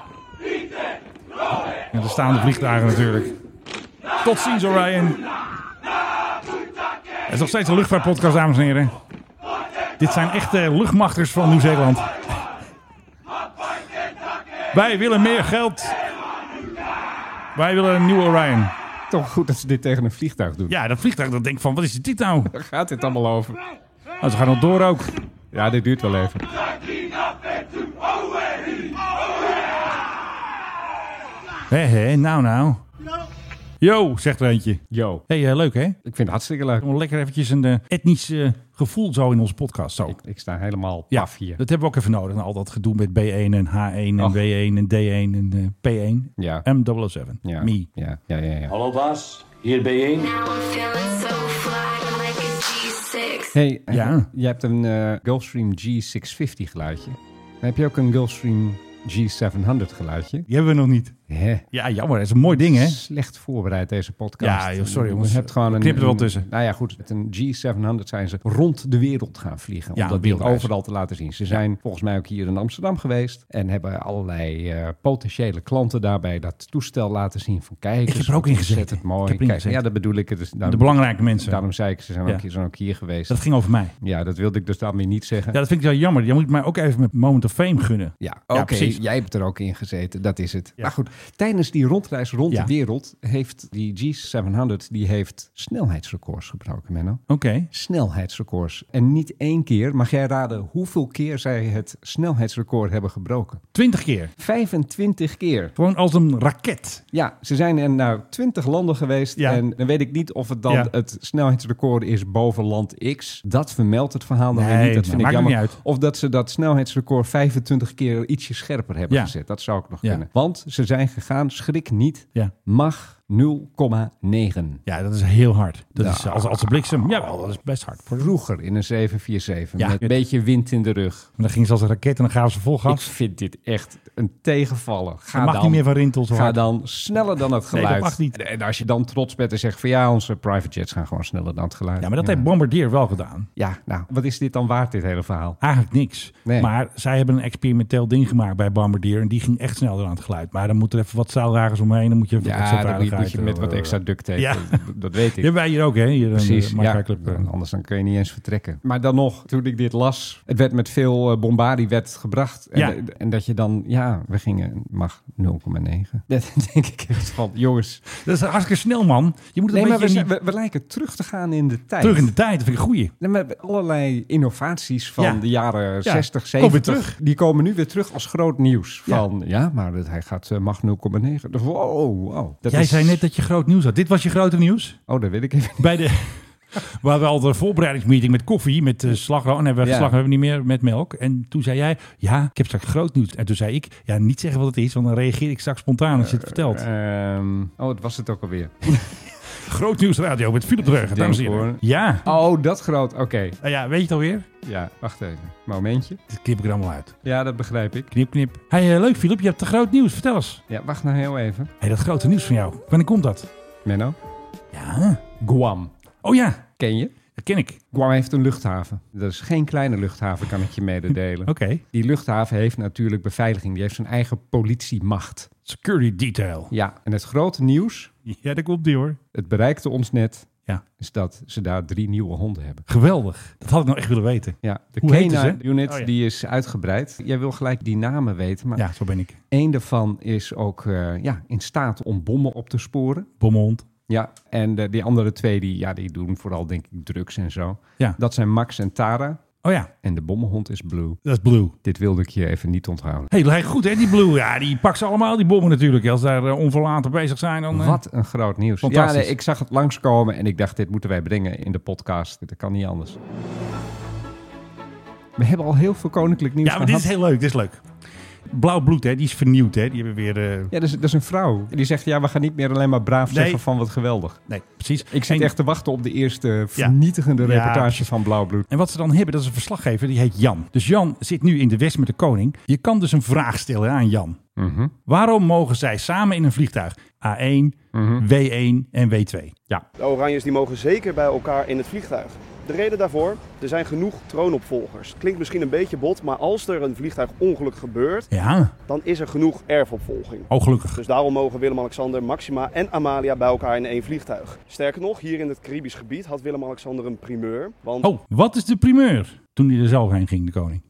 Ja, er staan de vliegtuigen natuurlijk. Tot ziens, Orion. Het is nog steeds een luchtvaartpodcast, dames en heren. Dit zijn echte luchtmachters van Nieuw-Zeeland. Wij willen meer geld. Wij willen een nieuwe Orion.
Toch goed dat ze dit tegen een vliegtuig doen.
Ja, dat vliegtuig dat denkt van, wat is dit nou?
Daar gaat dit allemaal over.
Nou, ze gaan nog door ook.
Ja, dit duurt wel even.
Hé, hé, nou nou. Yo, zegt er eentje.
Yo.
Hé, hey, eh, leuk hè?
Ik vind het hartstikke leuk.
Om lekker eventjes een eh, etnisch eh, gevoel zo in onze podcast. Zo.
Ik sta helemaal
Ja,
paf hier.
dat hebben we ook even nodig. na Al dat gedoe met B1 en H1 en
Ach.
W1 en D1 en eh, P1.
Ja.
M007.
Ja.
Me.
Ja, ja, ja. ja.
Hallo baas, hier ben je.
Hey,
Ja.
je hebt een eh Gulfstream G650 geluidje. Dan heb je ook een Gulfstream G700 geluidje.
Die hebben we nog niet.
Hè?
Ja, jammer. Dat is een mooi ding, hè?
Slecht voorbereid deze podcast.
Ja, joh, sorry,
Je
jongens.
hebt gewoon
We
een,
knippen er wel
een-
tussen.
Nou ja, goed. Met een G700 zijn ze rond de wereld gaan vliegen.
Ja,
om dat ding
wereldreis.
overal te laten zien. Ze zijn volgens mij ook hier in Amsterdam geweest. En hebben allerlei eh, potentiële klanten daarbij dat toestel laten zien. Van kijk,
Ik heb er ook in gezeten.
Het
Ik
mooi.
heb erin
Kijk,
gezeten.
ja, dat bedoel ik. Het is- daarom-
De belangrijke mensen.
Daarom zei ik, ze zijn,
Ja.
ook, hier- zijn ook hier geweest.
Dat ging over mij.
Ja, dat wilde ik dus daarmee niet zeggen.
Ja, dat vind ik wel jammer. Je moet mij ook even met Moment of Fame gunnen.
Ja,
Ja,
oké.
precies.
jij hebt er ook in gezeten, dat is het. Maar goed, Tijdens die rondreis rond
Ja.
de wereld heeft die G700 die heeft snelheidsrecords gebroken, Menno.
Oké.
Snelheidsrecords. En niet één keer. Mag jij raden hoeveel keer zij het snelheidsrecord hebben gebroken?
20 keer.
25 keer.
Gewoon als een raket.
Ja, ze zijn er nou 20 landen geweest.
Ja.
En dan weet ik niet of het dan
Ja.
het snelheidsrecord is boven land X. Dat vermeldt het verhaal dan weer
Nee,
niet. Dat
nou,
vind ik
maakt
jammer.
niet uit.
Of dat ze dat snelheidsrecord 25 keer ietsje scherper hebben
Ja.
gezet. Dat zou ik nog
Ja.
kunnen. Want ze zijn gegaan, schrik niet,
Ja.
mag 0,9.
Ja, dat is heel hard. Dat
Ja.
is als, als een bliksem. Jawel, dat is best hard.
Vroeger in een 747
Ja.
met een beetje wind in de rug.
Maar dan ging ze als een raket en dan gaven ze vol
Ik
gas.
vind dit echt een tegenvaller. Ga
mag
dan,
niet meer van Rintel zo
Ga
hard.
dan sneller dan het
Nee,
geluid.
dat mag niet.
En als je dan trots bent en zegt van ja, onze private jets gaan gewoon sneller dan het geluid.
Ja, maar dat heeft Bombardier wel gedaan.
Ja, nou, wat is dit dan waard, dit hele verhaal?
Eigenlijk niks.
Nee.
Maar zij hebben een experimenteel ding gemaakt bij Bombardier. En die ging echt sneller aan het geluid. Maar dan moet er even wat zaaldragers omheen. Dan moet je even wat
Ja, dan moet je- moet je
zaaldragerigheid,
met wat
eh,
extra duct tape.
Ja.
Dat, dat weet
Die
ik.
hebben wij hier ook, hè? Hier eh,
Precies,
Precies,
ja. Dan- Anders dan kun je niet eens vertrekken. Maar dan nog, toen ik dit las, het werd met veel eh, bombardie werd gebracht. En, eh,
Ja.
en dat je dan, ja, we gingen, mag 0,9. Dat denk ik echt van, jongens.
Dat is hartstikke snel, man. Je moet het
Nee,
een
maar we,
beetje
zijn-
niet-
we, we lijken terug te gaan in de tijd.
terug in de tijd. Dat vind ik een goeie.
Nee, maar allerlei innovaties van
Ja.
de jaren
Ja.
60,
Kom weer
70.
terug.
Die komen nu weer terug als groot nieuws.
Ja.
Van ja, maar dat hij gaat eh, mag 0,9. Wow, wow. Dat
Jij
is-
zei net dat je groot nieuws had. Dit was je grote nieuws?
Oh, dat weet ik even.
Bij de... We hadden al de voorbereidingsmeeting met koffie, met eh, slagroom. En hebben we
Ja.
slagroom hebben we niet meer, met melk. En toen zei jij, ja, ik heb straks groot nieuws. En toen zei ik, ja, niet zeggen wat het is, want dan reageer ik straks spontaan als je
Eh,
het vertelt.
Ehm, oh, dat was het ook alweer.
Groot nieuws radio met Philip Dreugen,
Denk
dames en heren.
hoor.
Ja.
Oh, dat groot. Oké.
Nou ja, weet je het alweer?
Ja, wacht even. Momentje.
Dat knip ik er allemaal uit.
Ja, dat begrijp ik.
Knip, knip. Hey, eh, leuk Philip, je hebt te groot nieuws. Vertel eens.
Ja, wacht nou heel even.
hey, dat grote nieuws van jou. Wanneer komt dat?
Menno.
Ja.
Guam.
Oh ja,
Ken je?
dat ken ik.
Guam heeft een luchthaven. Dat is geen kleine luchthaven, kan ik je mededelen.
Oké.
Die luchthaven heeft natuurlijk beveiliging. Die heeft zijn eigen politiemacht.
Security detail.
Ja, en het grote nieuws,
Ja, dat komt die hoor.
het bereikte ons net,
Ja.
is dat ze daar drie nieuwe honden hebben.
Geweldig. Dat had ik nou echt willen weten.
Ja, de
Hoe heet
Canine
ze?
Unit
Oh ja.
die is uitgebreid. Jij wil gelijk die namen weten, maar
Ja, zo ben ik.
één daarvan is ook eh, ja, in staat om bommen op te sporen.
Bommelhond.
Ja, en eh, die andere twee die, ja, die doen vooral denk ik drugs en zo.
Ja.
Dat zijn Max en Tara.
Oh ja,
En de bommenhond is Blue.
dat is Blue.
Dit wilde ik je even niet onthouden.
Hé, hey, lijkt goed hè, die Blue. Ja, die pakt ze allemaal, die bommen natuurlijk. Als ze daar eh, onverlaten bezig zijn, dan... eh,
Wat een groot nieuws. Ja,
Fantastisch.
nee, ik zag het langskomen en ik dacht, dit moeten wij brengen in de podcast. Dat kan niet anders. We hebben al heel veel koninklijk nieuws
Ja, maar dit is
gehad.
heel leuk, dit is leuk. Blauw bloed, hè, die is vernieuwd, hè. Die hebben weer... eh,
Ja, dat is, dat is een vrouw. En Die zegt, ja, we gaan niet meer alleen maar braaf
Nee.
zeggen van wat geweldig.
Nee, precies.
Ik zit
En-
echt te wachten op de eerste vernietigende
Ja,
reportage
precies.
van Blauwbloed.
En wat ze dan hebben, dat is een verslaggever, die heet Jan. Dus Jan zit nu in de West met de koning. Je kan dus een vraag stellen aan Jan.
Mhm.
Waarom mogen zij samen in een vliegtuig A1, W1 en W2?
Ja,
De Oranjes die mogen zeker bij elkaar in het vliegtuig. De reden daarvoor, er zijn genoeg troonopvolgers. Klinkt misschien een beetje bot, maar als er een vliegtuigongeluk gebeurt,
Ja,
dan is er genoeg erfopvolging.
oh gelukkig.
Dus daarom mogen Willem-Alexander, Maxima en Amalia bij elkaar in één vliegtuig. Sterker nog, hier in het Caribisch gebied had Willem-Alexander een primeur. Want
Oh, wat is de primeur? Toen hij er zelf heen ging, de koning.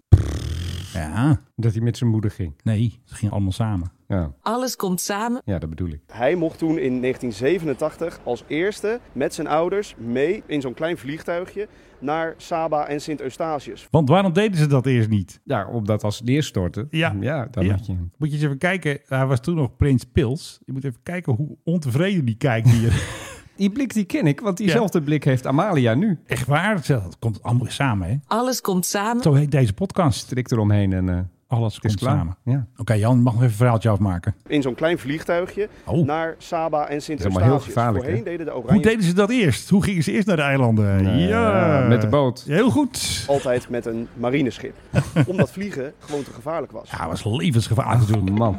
Ja,
dat hij met zijn moeder ging.
nee, ze gingen allemaal samen.
Ja,
Alles komt samen.
ja dat bedoel ik.
hij mocht toen in 1987 als eerste met zijn ouders mee in zo'n klein vliegtuigje naar Saba en Sint-Eustatius.
Want waarom deden ze dat eerst niet?
Ja, omdat als het neerstortte,
Ja.
ja, ja dan
Ja.
had je...
Moet je eens even kijken, hij was toen nog prins Pils. Je moet even kijken hoe ontevreden die kijkt hier.
Die blik die ken ik, want diezelfde blik heeft Amalia nu.
Echt waar, dat komt allemaal samen hè.
Alles komt samen.
Zo heet deze podcast.
Strik eromheen en eh,
Alles
het is
komt
klaar.
samen.
Ja.
Oké, Jan, je mag nog even een verhaaltje afmaken.
Oh.
In zo'n klein vliegtuigje
Oh.
naar Saba en
allemaal heel
Sint-Eustatius.
gevaarlijk,
Voorheen
hè?
deden de
Hoe
Oranje
deden ze dat eerst? Hoe gingen ze eerst naar de eilanden? ja.
Eh, met de boot.
Heel goed.
altijd met een marineschip. Omdat vliegen gewoon te gevaarlijk was.
Ja, was levensgevaarlijk natuurlijk.
Man,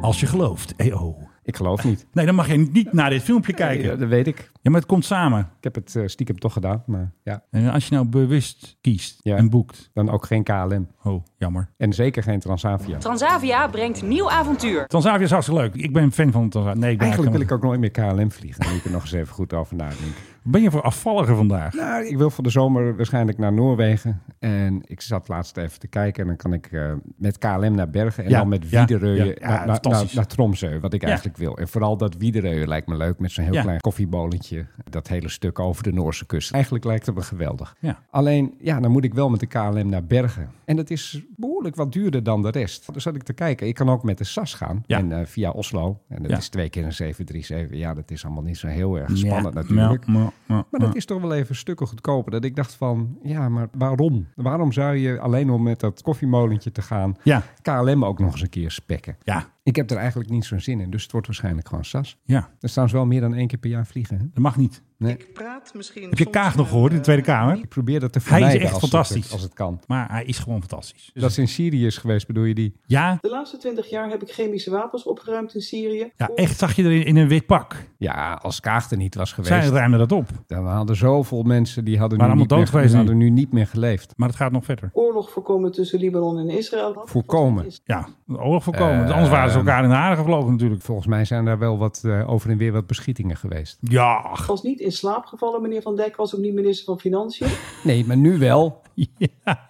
Als je gelooft. EO.
ik geloof niet.
Nee, dan mag je niet naar dit filmpje kijken.
Ja, dat weet ik.
Ja, maar het komt samen.
Ik heb het eh, stiekem toch gedaan, maar ja,
En als je nou bewust kiest
Ja.
en boekt.
dan ook geen KLM.
Oh, jammer.
En zeker geen Transavia.
Transavia brengt nieuw avontuur.
Transavia is hartstikke leuk. Ik ben fan van Transavia. Nee, ik ben
Eigenlijk wil ik
helemaal-
ook nooit meer KLM vliegen. Daar moet ik er nog eens even goed over nadenken.
Wat ben je voor afvallige vandaag?
Nou, ik wil voor de zomer waarschijnlijk naar Noorwegen. En ik zat laatst even te kijken. En dan kan ik eh, met KLM naar Bergen. En
Ja,
dan met
ja,
Wiedereuwen
ja.
naar,
Ja,
naar, naar,
fantastisch.
naar Tromsø. Wat ik
Ja.
eigenlijk wil. En vooral dat Wiedereuwen lijkt me leuk. Met zo'n heel
Ja.
klein koffiebolietje. Dat hele stuk over de Noorse kust. Eigenlijk lijkt het me geweldig.
Ja.
Alleen, ja, dan moet ik wel met de KLM naar Bergen. En dat is behoorlijk wat duurder dan de rest. Dus zat ik te kijken. Ik kan ook met de SAS gaan.
Ja.
En eh, via Oslo. En dat
Ja.
is twee keer een 737. Ja, dat is allemaal niet zo heel erg
Ja, Nou,
spannend
ja,
natuurlijk.
ja, ja.
Maar dat is toch wel even stukken goedkoper. Dat ik dacht van, ja, maar waarom? Waarom zou je alleen om met dat koffiemolentje te gaan...
Ja.
KLM ook nog eens een keer spekken?
Ja.
Ik heb er eigenlijk niet zo'n zin in. Dus het wordt waarschijnlijk gewoon SAS.
Ja.
Er staan ze wel meer dan één keer per jaar vliegen. Hè?
Dat mag niet.
Nee.
Praat misschien.
Heb je Kaag nog gehoord in de Tweede Kamer? Ik
probeer dat te
Hij
vermijden
is echt
als het-
fantastisch. Dus
als het kan.
Maar hij is gewoon fantastisch.
Dat is in Syrië is geweest, bedoel je die?
Ja,
De laatste twintig jaar heb ik chemische wapens opgeruimd in Syrië.
ja echt zag je erin in een wit pak.
Ja, als Kaag er niet was geweest...
Zij ruimde dat op.
Dan hadden zoveel mensen, die hadden, nu
Waren
niet,
allemaal
meer,
dood geweest
die hadden nu niet meer geleefd.
Maar het gaat nog verder.
Oorlog voorkomen tussen Libanon en Israël.
Voorkomen.
Ja, oorlog voorkomen. Want anders waren ze elkaar in de haren gevlogen natuurlijk.
Volgens mij zijn daar wel wat, eh, over en weer wat beschietingen geweest.
Ja.
Was niet in slaap gevallen, meneer Van Dijk. Was ook niet minister van Financiën.
Nee, maar nu wel.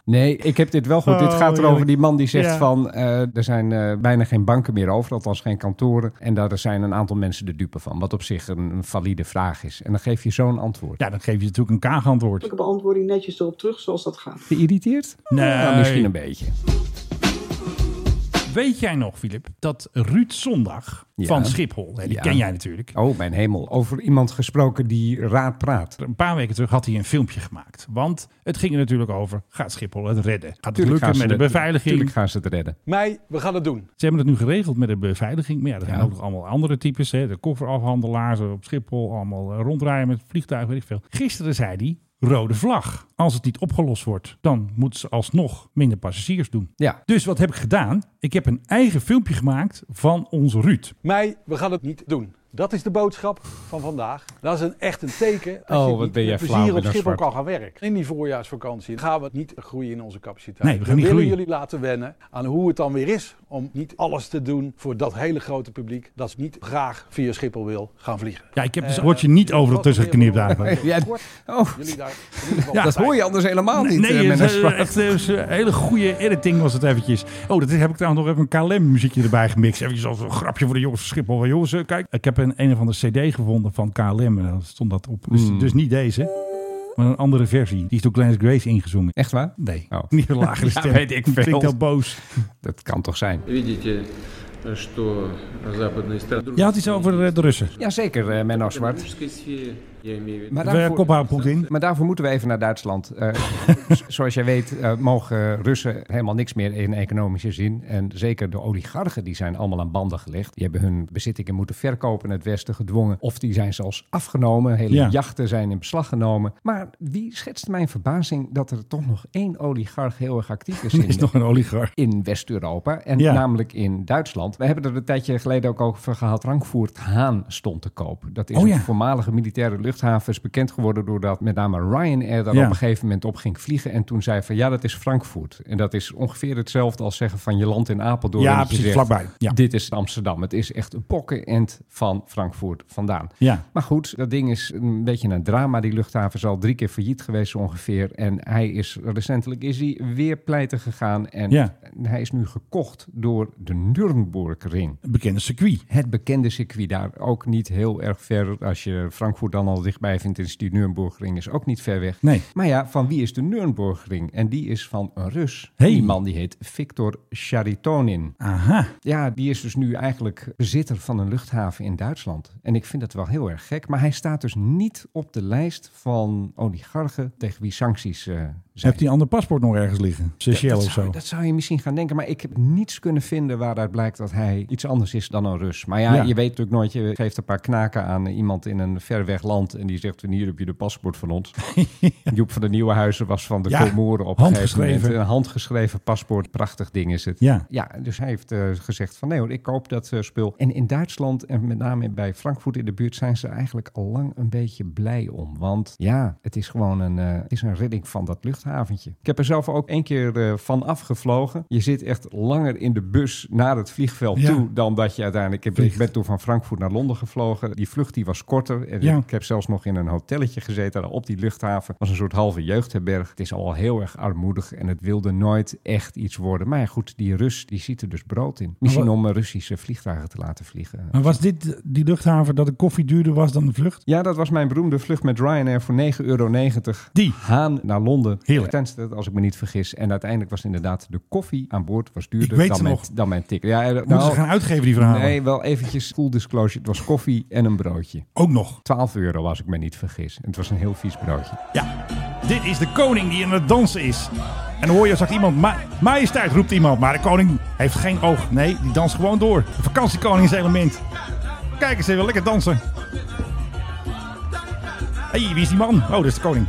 Nee, ik heb dit wel goed. dit
Oh,
gaat erover
heerlijk.
die man die zegt
Ja.
van... eh, er zijn eh, bijna geen banken meer over, althans geen kantoren. En daar zijn een aantal mensen de dupe van. Wat op zich een, een valide vraag is. En dan geef je zo'n antwoord.
Ja, dan geef je natuurlijk een kaagantwoord.
Ik beantwoord u netjes erop terug zoals dat gaat.
Geïrriteerd?
Nee.
Nou, misschien een beetje.
Weet jij nog, Filip, dat Ruud Zondag
Ja.
van Schiphol, hè, die
Ja.
ken jij natuurlijk.
Oh, mijn hemel. Over iemand gesproken die raar praat.
Een paar weken terug had hij een filmpje gemaakt. Want het ging er natuurlijk over, gaat Schiphol het redden? Gaat het
Tuurlijk gaan
lukken
ze
met de
het-
beveiliging?
Tuurlijk gaan ze het redden.
Mei, we gaan het doen. Ze hebben het nu geregeld met de beveiliging. Maar ja, er zijn ook nog allemaal andere types. Hè? De kofferafhandelaars op Schiphol. Allemaal eh, rondrijden met vliegtuigen, weet ik veel. Gisteren zei hij, rode vlag. Als het niet opgelost wordt, dan moeten ze alsnog minder passagiers doen.
Ja.
Dus wat heb ik gedaan? Ik heb een eigen filmpje gemaakt van onze Ruud.
Mei, we gaan het niet doen. Dat is de boodschap van vandaag. Dat is een, echt een teken dat
Oh,
je
wat
niet
ben jij
met
flauw,
plezier op
meneer
Schiphol
Zwart.
kan gaan werken. In die voorjaarsvakantie gaan we niet groeien in onze capaciteit.
Nee, we gaan niet
willen
groeien.
jullie laten wennen aan hoe het dan weer is om niet alles te doen voor dat hele grote publiek dat niet graag via Schiphol wil gaan vliegen.
Ja, ik heb dus
Eh,
het woordje niet over
dat
tussen
was weer
geknipt
voor-
eigenlijk.
Ja,
Kort,
oh.
jullie daar in ieder geval
Ja.
bij
Dat hoor
je anders helemaal
Nee,
niet. eh,
nee het
meneer
is,
Zwart.
eh, echt eh, is een hele goede editing was het eventjes. Oh, dat is- heb ik trouwens nog even een KLM-muziekje erbij gemixt. Even als een grapje voor de jongens van Schiphol. Van, Jongens, eh, kijk, ik heb een, een of andere cd gevonden van KLM. En daar stond dat op. Dus,
Hmm.
dus niet deze, maar een andere versie. Die is door Clarence Grace ingezongen.
Echt waar?
Nee, niet een lagere
Oh. Ja,
stem.
weet ik veel.
Klinkt heel boos.
Dat kan toch zijn.
Видите, что западные страны...
Je had iets over eh, de Russen.
Jazeker, eh Menno Zwart.
В сфере, я имею в виду...
Maar
Waar kophaal Poetin.
Maar daarvoor moeten we even naar Duitsland. Eh, z- zoals jij weet eh, mogen Russen helemaal niks meer in economische zin. En zeker de oligarchen die zijn allemaal aan banden gelegd. Die hebben hun bezittingen moeten verkopen in het Westen gedwongen. Of die zijn zelfs afgenomen. Hele
Ja.
jachten zijn in beslag genomen. Maar wie schetst mijn verbazing dat er toch nog één oligarch heel erg actief is
Er
in
is nog een oligarch.
in West-Europa. En
Ja.
namelijk in Duitsland. We hebben er een tijdje geleden ook over gehad. Frankfurt Haan stond te koop. Dat is
Oh ja.
een voormalige militaire luchthaven. Is bekend geworden doordat met name Ryanair daar
Ja.
op een gegeven moment op ging vliegen. En toen zei van ja, dat is Frankfurt. En dat is ongeveer hetzelfde als zeggen van je land in Apeldoorn.
Ja,
en dat je
precies,
zegt,
vlakbij. Ja.
Dit is Amsterdam. Het is echt een pokkenend van Frankfurt vandaan.
Ja.
Maar goed, dat ding is een beetje een drama. Die luchthaven is al drie keer failliet geweest zo ongeveer. En hij is recentelijk is hij weer pleiten gegaan. En
Ja.
hij is nu gekocht door de Nürnbergring.
Een bekende circuit.
Het bekende circuit daar ook niet heel erg ver. Als je Frankfurt dan al dichtbij vindt, is die Nürnbergring is ook niet ver weg.
Nee.
Maar ja, van wie is de Nürnbergring? En die is van een Rus.
Hey.
Die man die heet Victor Charitonin.
Aha.
Ja, die is dus nu eigenlijk bezitter van een luchthaven in Duitsland. En ik vind dat wel heel erg gek. Maar hij staat dus niet op de lijst van oligarchen tegen wie sancties eh, zijn.
Heeft die ander paspoort nog ergens liggen? Seychelles
dat,
of
zou,
zo.
dat zou je misschien gaan denken, maar ik heb niets kunnen vinden waaruit blijkt dat hij iets anders is dan een Rus. Maar ja,
Ja.
je weet natuurlijk nooit, je geeft een paar knaken aan iemand in een ver weg land en die zegt, "En hier heb je de paspoort van ons. Joep van de Nieuwenhuizen was van de
Ja,
Comoren op een gegeven moment.
handgeschreven.
Een handgeschreven paspoort, prachtig ding is het.
Ja.
Ja, dus hij heeft eh, gezegd van nee hoor, ik koop dat eh, spul. En in Duitsland en met name bij Frankfurt in de buurt zijn ze er eigenlijk al lang een beetje blij om. Want ja, het is gewoon een, eh, het is een redding van dat luchthaventje. Ik heb er zelf ook één keer eh, van afgevlogen. Je zit echt langer in de bus naar het vliegveld
Ja.
toe dan dat je uiteindelijk... Ik ben- Ik ben toen van Frankfurt naar Londen gevlogen. Die vlucht die was korter. En
Ja.
ik heb zelfs zelfs nog in een hotelletje gezeten daar op die luchthaven. was een soort halve jeugdherberg. Het is al heel erg armoedig en het wilde nooit echt iets worden. Maar ja, goed, die Rus die ziet er dus brood in. Misschien
Maar
om eh, Russische vliegtuigen te laten vliegen.
Maar was dit die luchthaven dat de koffie duurder was dan de vlucht?
Ja, dat was mijn beroemde vlucht met Ryanair voor 9,90 euro. Die? Haan naar Londen. Heerlijk. als ik me niet vergis. En uiteindelijk was inderdaad de koffie aan boord was duurder
Ik weet
dan,
het
mijn,
nog.
dan mijn ticket. Ja, eh,
Moeten ze gaan uitgeven, die verhalen?
Nee, wel eventjes full disclosure. Het was koffie en een broodje.
Ook nog?
12 euro als ik me niet vergis. En het was een heel vies broodje.
Ja. Dit is de koning die aan het dansen is. En dan hoor je, zegt iemand, "Ma- majesteit roept iemand. Maar de koning heeft geen oog. Nee, die danst gewoon door. De vakantiekoningselement. Kijk eens even, lekker dansen. Hé, hey, wie is die man? Oh, dat is de koning.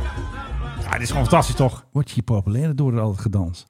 Ja, dit is gewoon fantastisch, toch? Word je hier populair door al het gedans?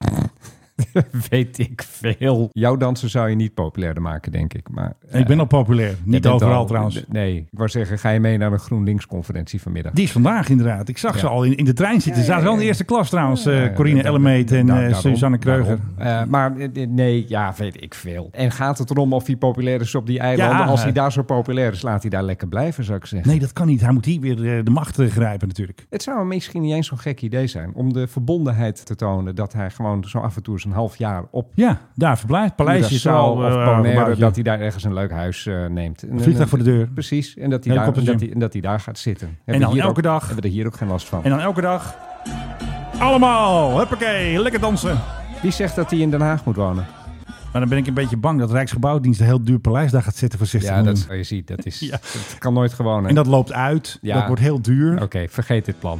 Weet ik veel. Jouw dansen zou je niet populairder maken, denk ik. Maar,
Ik ben al populair.
jij
Niet
bent
overal
al-
trouwens.
Nee, ik wou zeggen, ga je mee naar een GroenLinks-conferentie vanmiddag?
Die is vandaag inderdaad. Ik zag
Ja.
ze al in, in de trein zitten. Ze zaten wel in de eerste klas trouwens. eh,
Ja, ja,
Corine
dat- dat-
Ellemeet en
nou,
eh,
daarom,
Suzanne Kreuger.
daarom. Eh, maar eh, nee, ja, weet ik veel. En gaat het erom of hij populair is op die eilanden?
Ja. eh.
Als hij daar zo populair is, laat hij daar lekker blijven, zou ik zeggen.
Nee, dat kan niet. Hij moet hier weer eh, de macht eh, grijpen natuurlijk.
Het zou misschien niet eens zo'n gek idee zijn om de verbondenheid te tonen dat hij gewoon zo af en toe eens een half jaar op
Ja, daar verblijft. Paleisje is
Curaçao
al...
of
eh,
Bonaire,
gebouwd, ja.
dat hij daar ergens een leuk huis eh, neemt. En-
vliegtuig
en-
voor de deur.
Precies, en dat hij, daar, en
Helikoptertje.
dat hij, en dat hij daar gaat zitten. Hebben
En dan
we hier
elke
ook-
dag.
Hebben we er hier ook geen last van.
En dan elke dag... Allemaal! Huppakee, lekker dansen.
Wie zegt dat hij in Den Haag moet wonen?
Maar dan ben ik een beetje bang dat Rijksgebouwdienst een heel duur paleis daar gaat zitten voor 60
Ja,
miljoen.
dat je ziet, dat, is, dat kan nooit gewoon. hè.
En dat loopt uit.
Ja.
Dat wordt heel duur.
Oké, vergeet dit plan.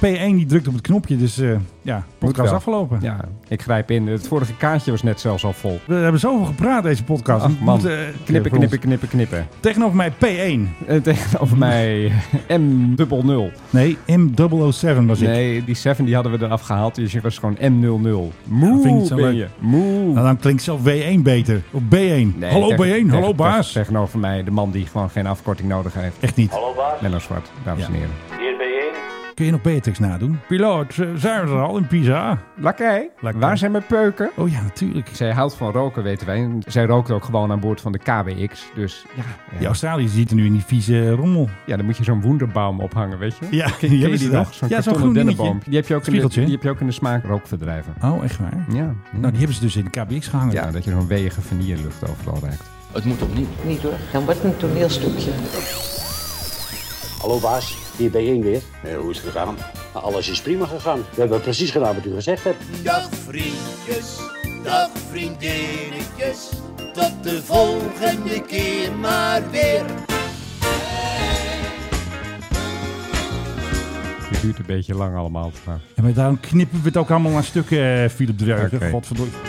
P1 die drukt op het knopje, dus eh ja,
Moet
podcast
wel.
afgelopen.
Ja, ik grijp in. Het vorige kaartje was net zelfs al vol.
We hebben zoveel gepraat deze podcast.
Ach man,
Moet, eh,
knippen, knippen, knippen, knippen.
Tegenover mij P1.
En tegenover mij M00.
Nee, M007 was ik.
Nee, die 7 die hadden we eraf gehaald. Dus je was gewoon M00.
Dat vind ik niet
Moe
zo
ben
leuk.
je. Moe.
Nou, dan klinkt zelf W1 beter. Of B1.
Nee,
hallo
tegen-
B1,
tegen-
hallo
tegen-
baas.
Tegenover mij de man die gewoon geen afkorting nodig heeft.
Echt niet.
Hallo baas. Menno Zwart, dames en heren.
Hier bijeen.
Kun je nog Beatrix nadoen? Piloot, eh, zijn we er al in Pisa?
Lakai, waar zijn mijn peuken?
Oh ja, natuurlijk.
Zij houdt van roken, weten wij. En zij rookt ook gewoon aan boord van de KBX. Dus ja,
Die Australiërs zitten nu in die vieze rommel.
Ja, dan moet je zo'n wonderbaum ophangen, weet je?
Ja,
Ken-
die
ken je
hebben
die
ze daar.
nog? Zo'n
Ja, zo'n
kartonnen
groen dingetje.
dennenboom. Die heb, je ook in de,
Spiegeltje.
die heb je ook in de smaak rookverdrijven.
Oh, echt waar?
Ja.
Nou, die hebben ze dus in de KBX gehangen.
Ja, dat je zo'n wegen vanierlucht overal ruikt.
Het moet opnieuw. Niet hoor, dan wordt het een toneelstukje.
Hallo baas, hier ben je weer. hoe is het gegaan? Alles is prima gegaan. We hebben precies gedaan wat u gezegd hebt.
Dag vriendjes, dag vriendinnetjes. Tot de volgende keer maar weer.
Het duurt een beetje lang allemaal. Maar...
En maar daarom knippen we het ook allemaal naar stukken, eh, Philip de Werker.
Oké.
Godverdomme.